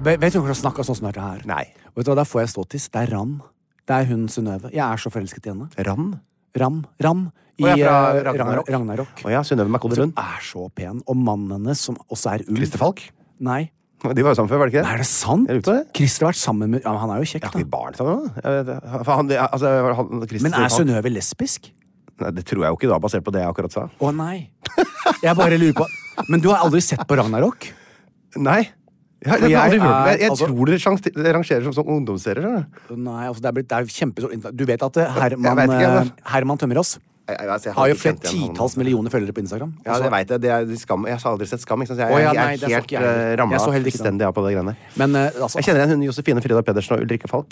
A: Ve- Vet du hva som snakker sånn som dette her?
B: Nei.
A: Vet du hva, Da får jeg ståtiss. Det er Ram. Det er hun Synnøve. Jeg er så forelsket i henne.
B: Rand?
A: Ram. Ram i
B: Å, ja, fra
A: eh,
B: Ragnarok.
A: Ragnar- Ragnarok.
B: Å ja, Synnøve Macodde
A: Som
B: Lund.
A: er så pen. Og mannen hennes, som også er ulv.
B: Christer Falk.
A: Nei.
B: De var jo sammen før, var de ikke det?
A: Er det sant?
B: Jeg lurer på det.
A: Christer har vært sammen med ja, men Han er jo kjekk,
B: Jeg har
A: da.
B: ikke barn sammen med ham. Han, altså, han, Christer
A: Men er
B: Falk-
A: Synnøve lesbisk?
B: Nei, det tror jeg jo ikke, da, basert på det jeg akkurat sa.
A: Å nei. Jeg bare lurer på Men du har aldri sett på Ragnarok?
B: Nei. Jeg, jeg,
A: For
B: jeg,
A: jeg
B: jeg,
A: er-
B: jeg, jeg
A: altså-
B: tror dere sjans- dere rangerer som sånn ungdomsserier. skjønner du.
A: Nei, altså det er blitt det er jo kjempestort Du vet at eh,
B: Jeg
A: Herman,
B: vet ikke, jeg
A: eh, Herman Tømmerås
B: Jeg- jeg- jeg- jeg
A: har jo
B: ikke
A: flere
B: kjent igjen han.
A: titalls millioner følgere på Instagram. Altså,
B: Ja,
A: Også-
B: det vet jeg. Det er de skam. Jeg har aldri sett Skam. Ikke sant? Så jeg,
A: Å, ja,
B: jeg
A: nei,
B: er
A: det så
B: helt
A: ikke jeg heller.
B: eh, ramla
A: Jeg så heller ikke den.
B: fullstendig av på de greiene der.
A: Men eh, altså
B: Jeg kjenner igjen hun Josefine Frida Pedersen og Ulrikke Falk.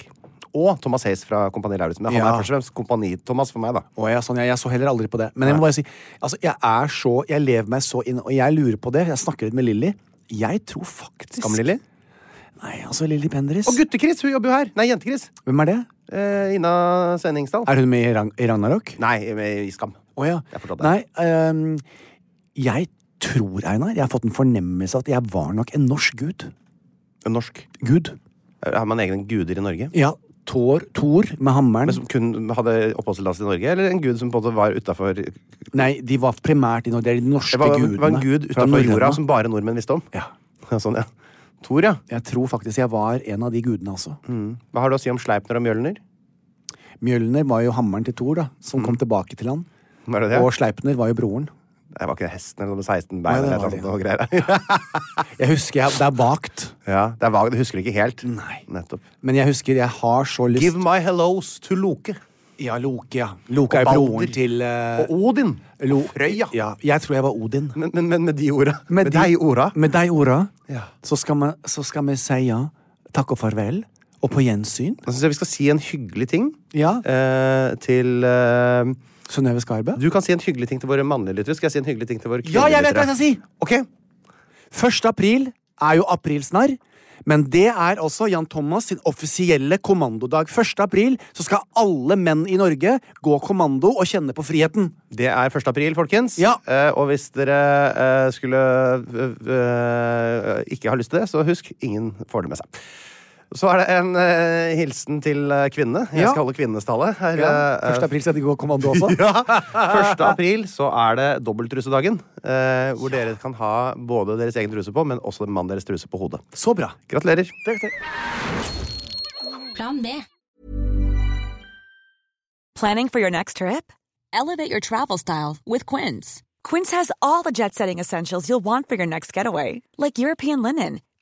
B: Og Thomas Hayes fra Kompani Lauritzen. Men han
A: Ja.
B: er først og fremst Kompani-Thomas for meg, da.
A: Å, ja, sånn, ja, jeg så heller aldri på det. Men jeg må bare si, altså, jeg er så Jeg lever meg så inn, og jeg lurer på det. Jeg snakker litt med Lilly. Jeg tror faktisk
B: Skam-Lilly.
A: Nei, altså Lilly Bendriss.
B: Og Gutte-Chris! Hun jobber jo her. Nei, Jente-Chris.
A: Hvem er det?
B: Eh, Ina Svenningsdal.
A: Er hun med i Ragn- i Ragnarok?
B: Nei, med- i Skam.
A: Å ja.
B: Jeg forstår det.
A: Nei, ehm, jeg tror, Einar, jeg har fått en fornemmelse av at jeg var nok en norsk gud.
B: Norsk.
A: Gud.
B: Eh, Har man egne guder i Norge?
A: Ja, Thor, Thor med hammeren.
B: Men som kun hadde oppholdstillatelse i Norge? Eller en gud som på en måte var utafor Det
A: Nei, de var primært i Norge. Det er de norske
B: var,
A: gudene.
B: var en gud
A: fra
B: utafor jorda
A: norrøna.
B: som bare nordmenn visste om?
A: Ja.
B: Ja, sånn, ja. Thor, ja.
A: Jeg tror faktisk jeg var en av de gudene, altså.
B: Hva har du å si om Sleipner og Mjølner?
A: Mjølner var jo hammeren til Thor, da, som kom tilbake til han.
B: Var det det?
A: Og Sleipner var jo broren.
B: Det var ikke det hesten eller noe med 16
A: Nei,
B: bein
A: det
B: eller
A: var
B: noe sånt og greier.
A: Jeg husker jeg, Det er vagt,
B: ja, det er vagt. Du husker ikke helt.
A: Nei.
B: Nettopp.
A: men jeg husker jeg har så lyst
B: Give my hellos to Loke.
A: Ja, Loke, ja. Loke
B: Og
A: er jo
B: Balder.
A: broren til eh,
B: Og Odin.
A: Lo-
B: Og Frøya.
A: Ja, jeg tror jeg var Odin.
B: Men, men, men med de orda. Med,
A: de-
B: de orda.
A: Med de orda
B: Ja.
A: så, skal vi, så skal vi si ja. Takk og farvel. Og på gjensyn.
B: Nå syns jeg vi skal si en hyggelig ting
A: Ja.
B: eh, til eh,
A: Synnøve Skarbø.
B: Du kan si en hyggelig ting til våre mannlige lyttere. Skal jeg si en hyggelig ting til våre
A: Ja,
B: kvinnelige
A: jeg vet hva jeg skal si!
B: Ok.
A: 1. april er jo aprilsnarr. Men det er også Jan Thomas sin offisielle kommandodag. 1. april så skal alle menn i Norge gå kommando og kjenne på friheten.
B: Det er 1. april, folkens.
A: Ja.
B: Eh, og hvis dere eh, skulle eh, eh, ikke ha lyst til det, så husk ingen får det med seg. Så er det en eh, hilsen til eh, kvinnene. Jeg
A: Ja.
B: skal holde kvinnenes tale. Her, eh,
A: 1. april skal de gå kommando også.
B: Ja. 1. april så er det dobbelttrusedagen. Eh, hvor dere kan ha både deres egen truse på, men også mannen deres truse på hodet.
A: Så bra.
B: Gratulerer.
H: Plan B.
I: Planning for your next trip?
H: Elevate your travel style with Quince.
I: Quince has all the jet setting essentials you'll want for your next getaway, like European linen,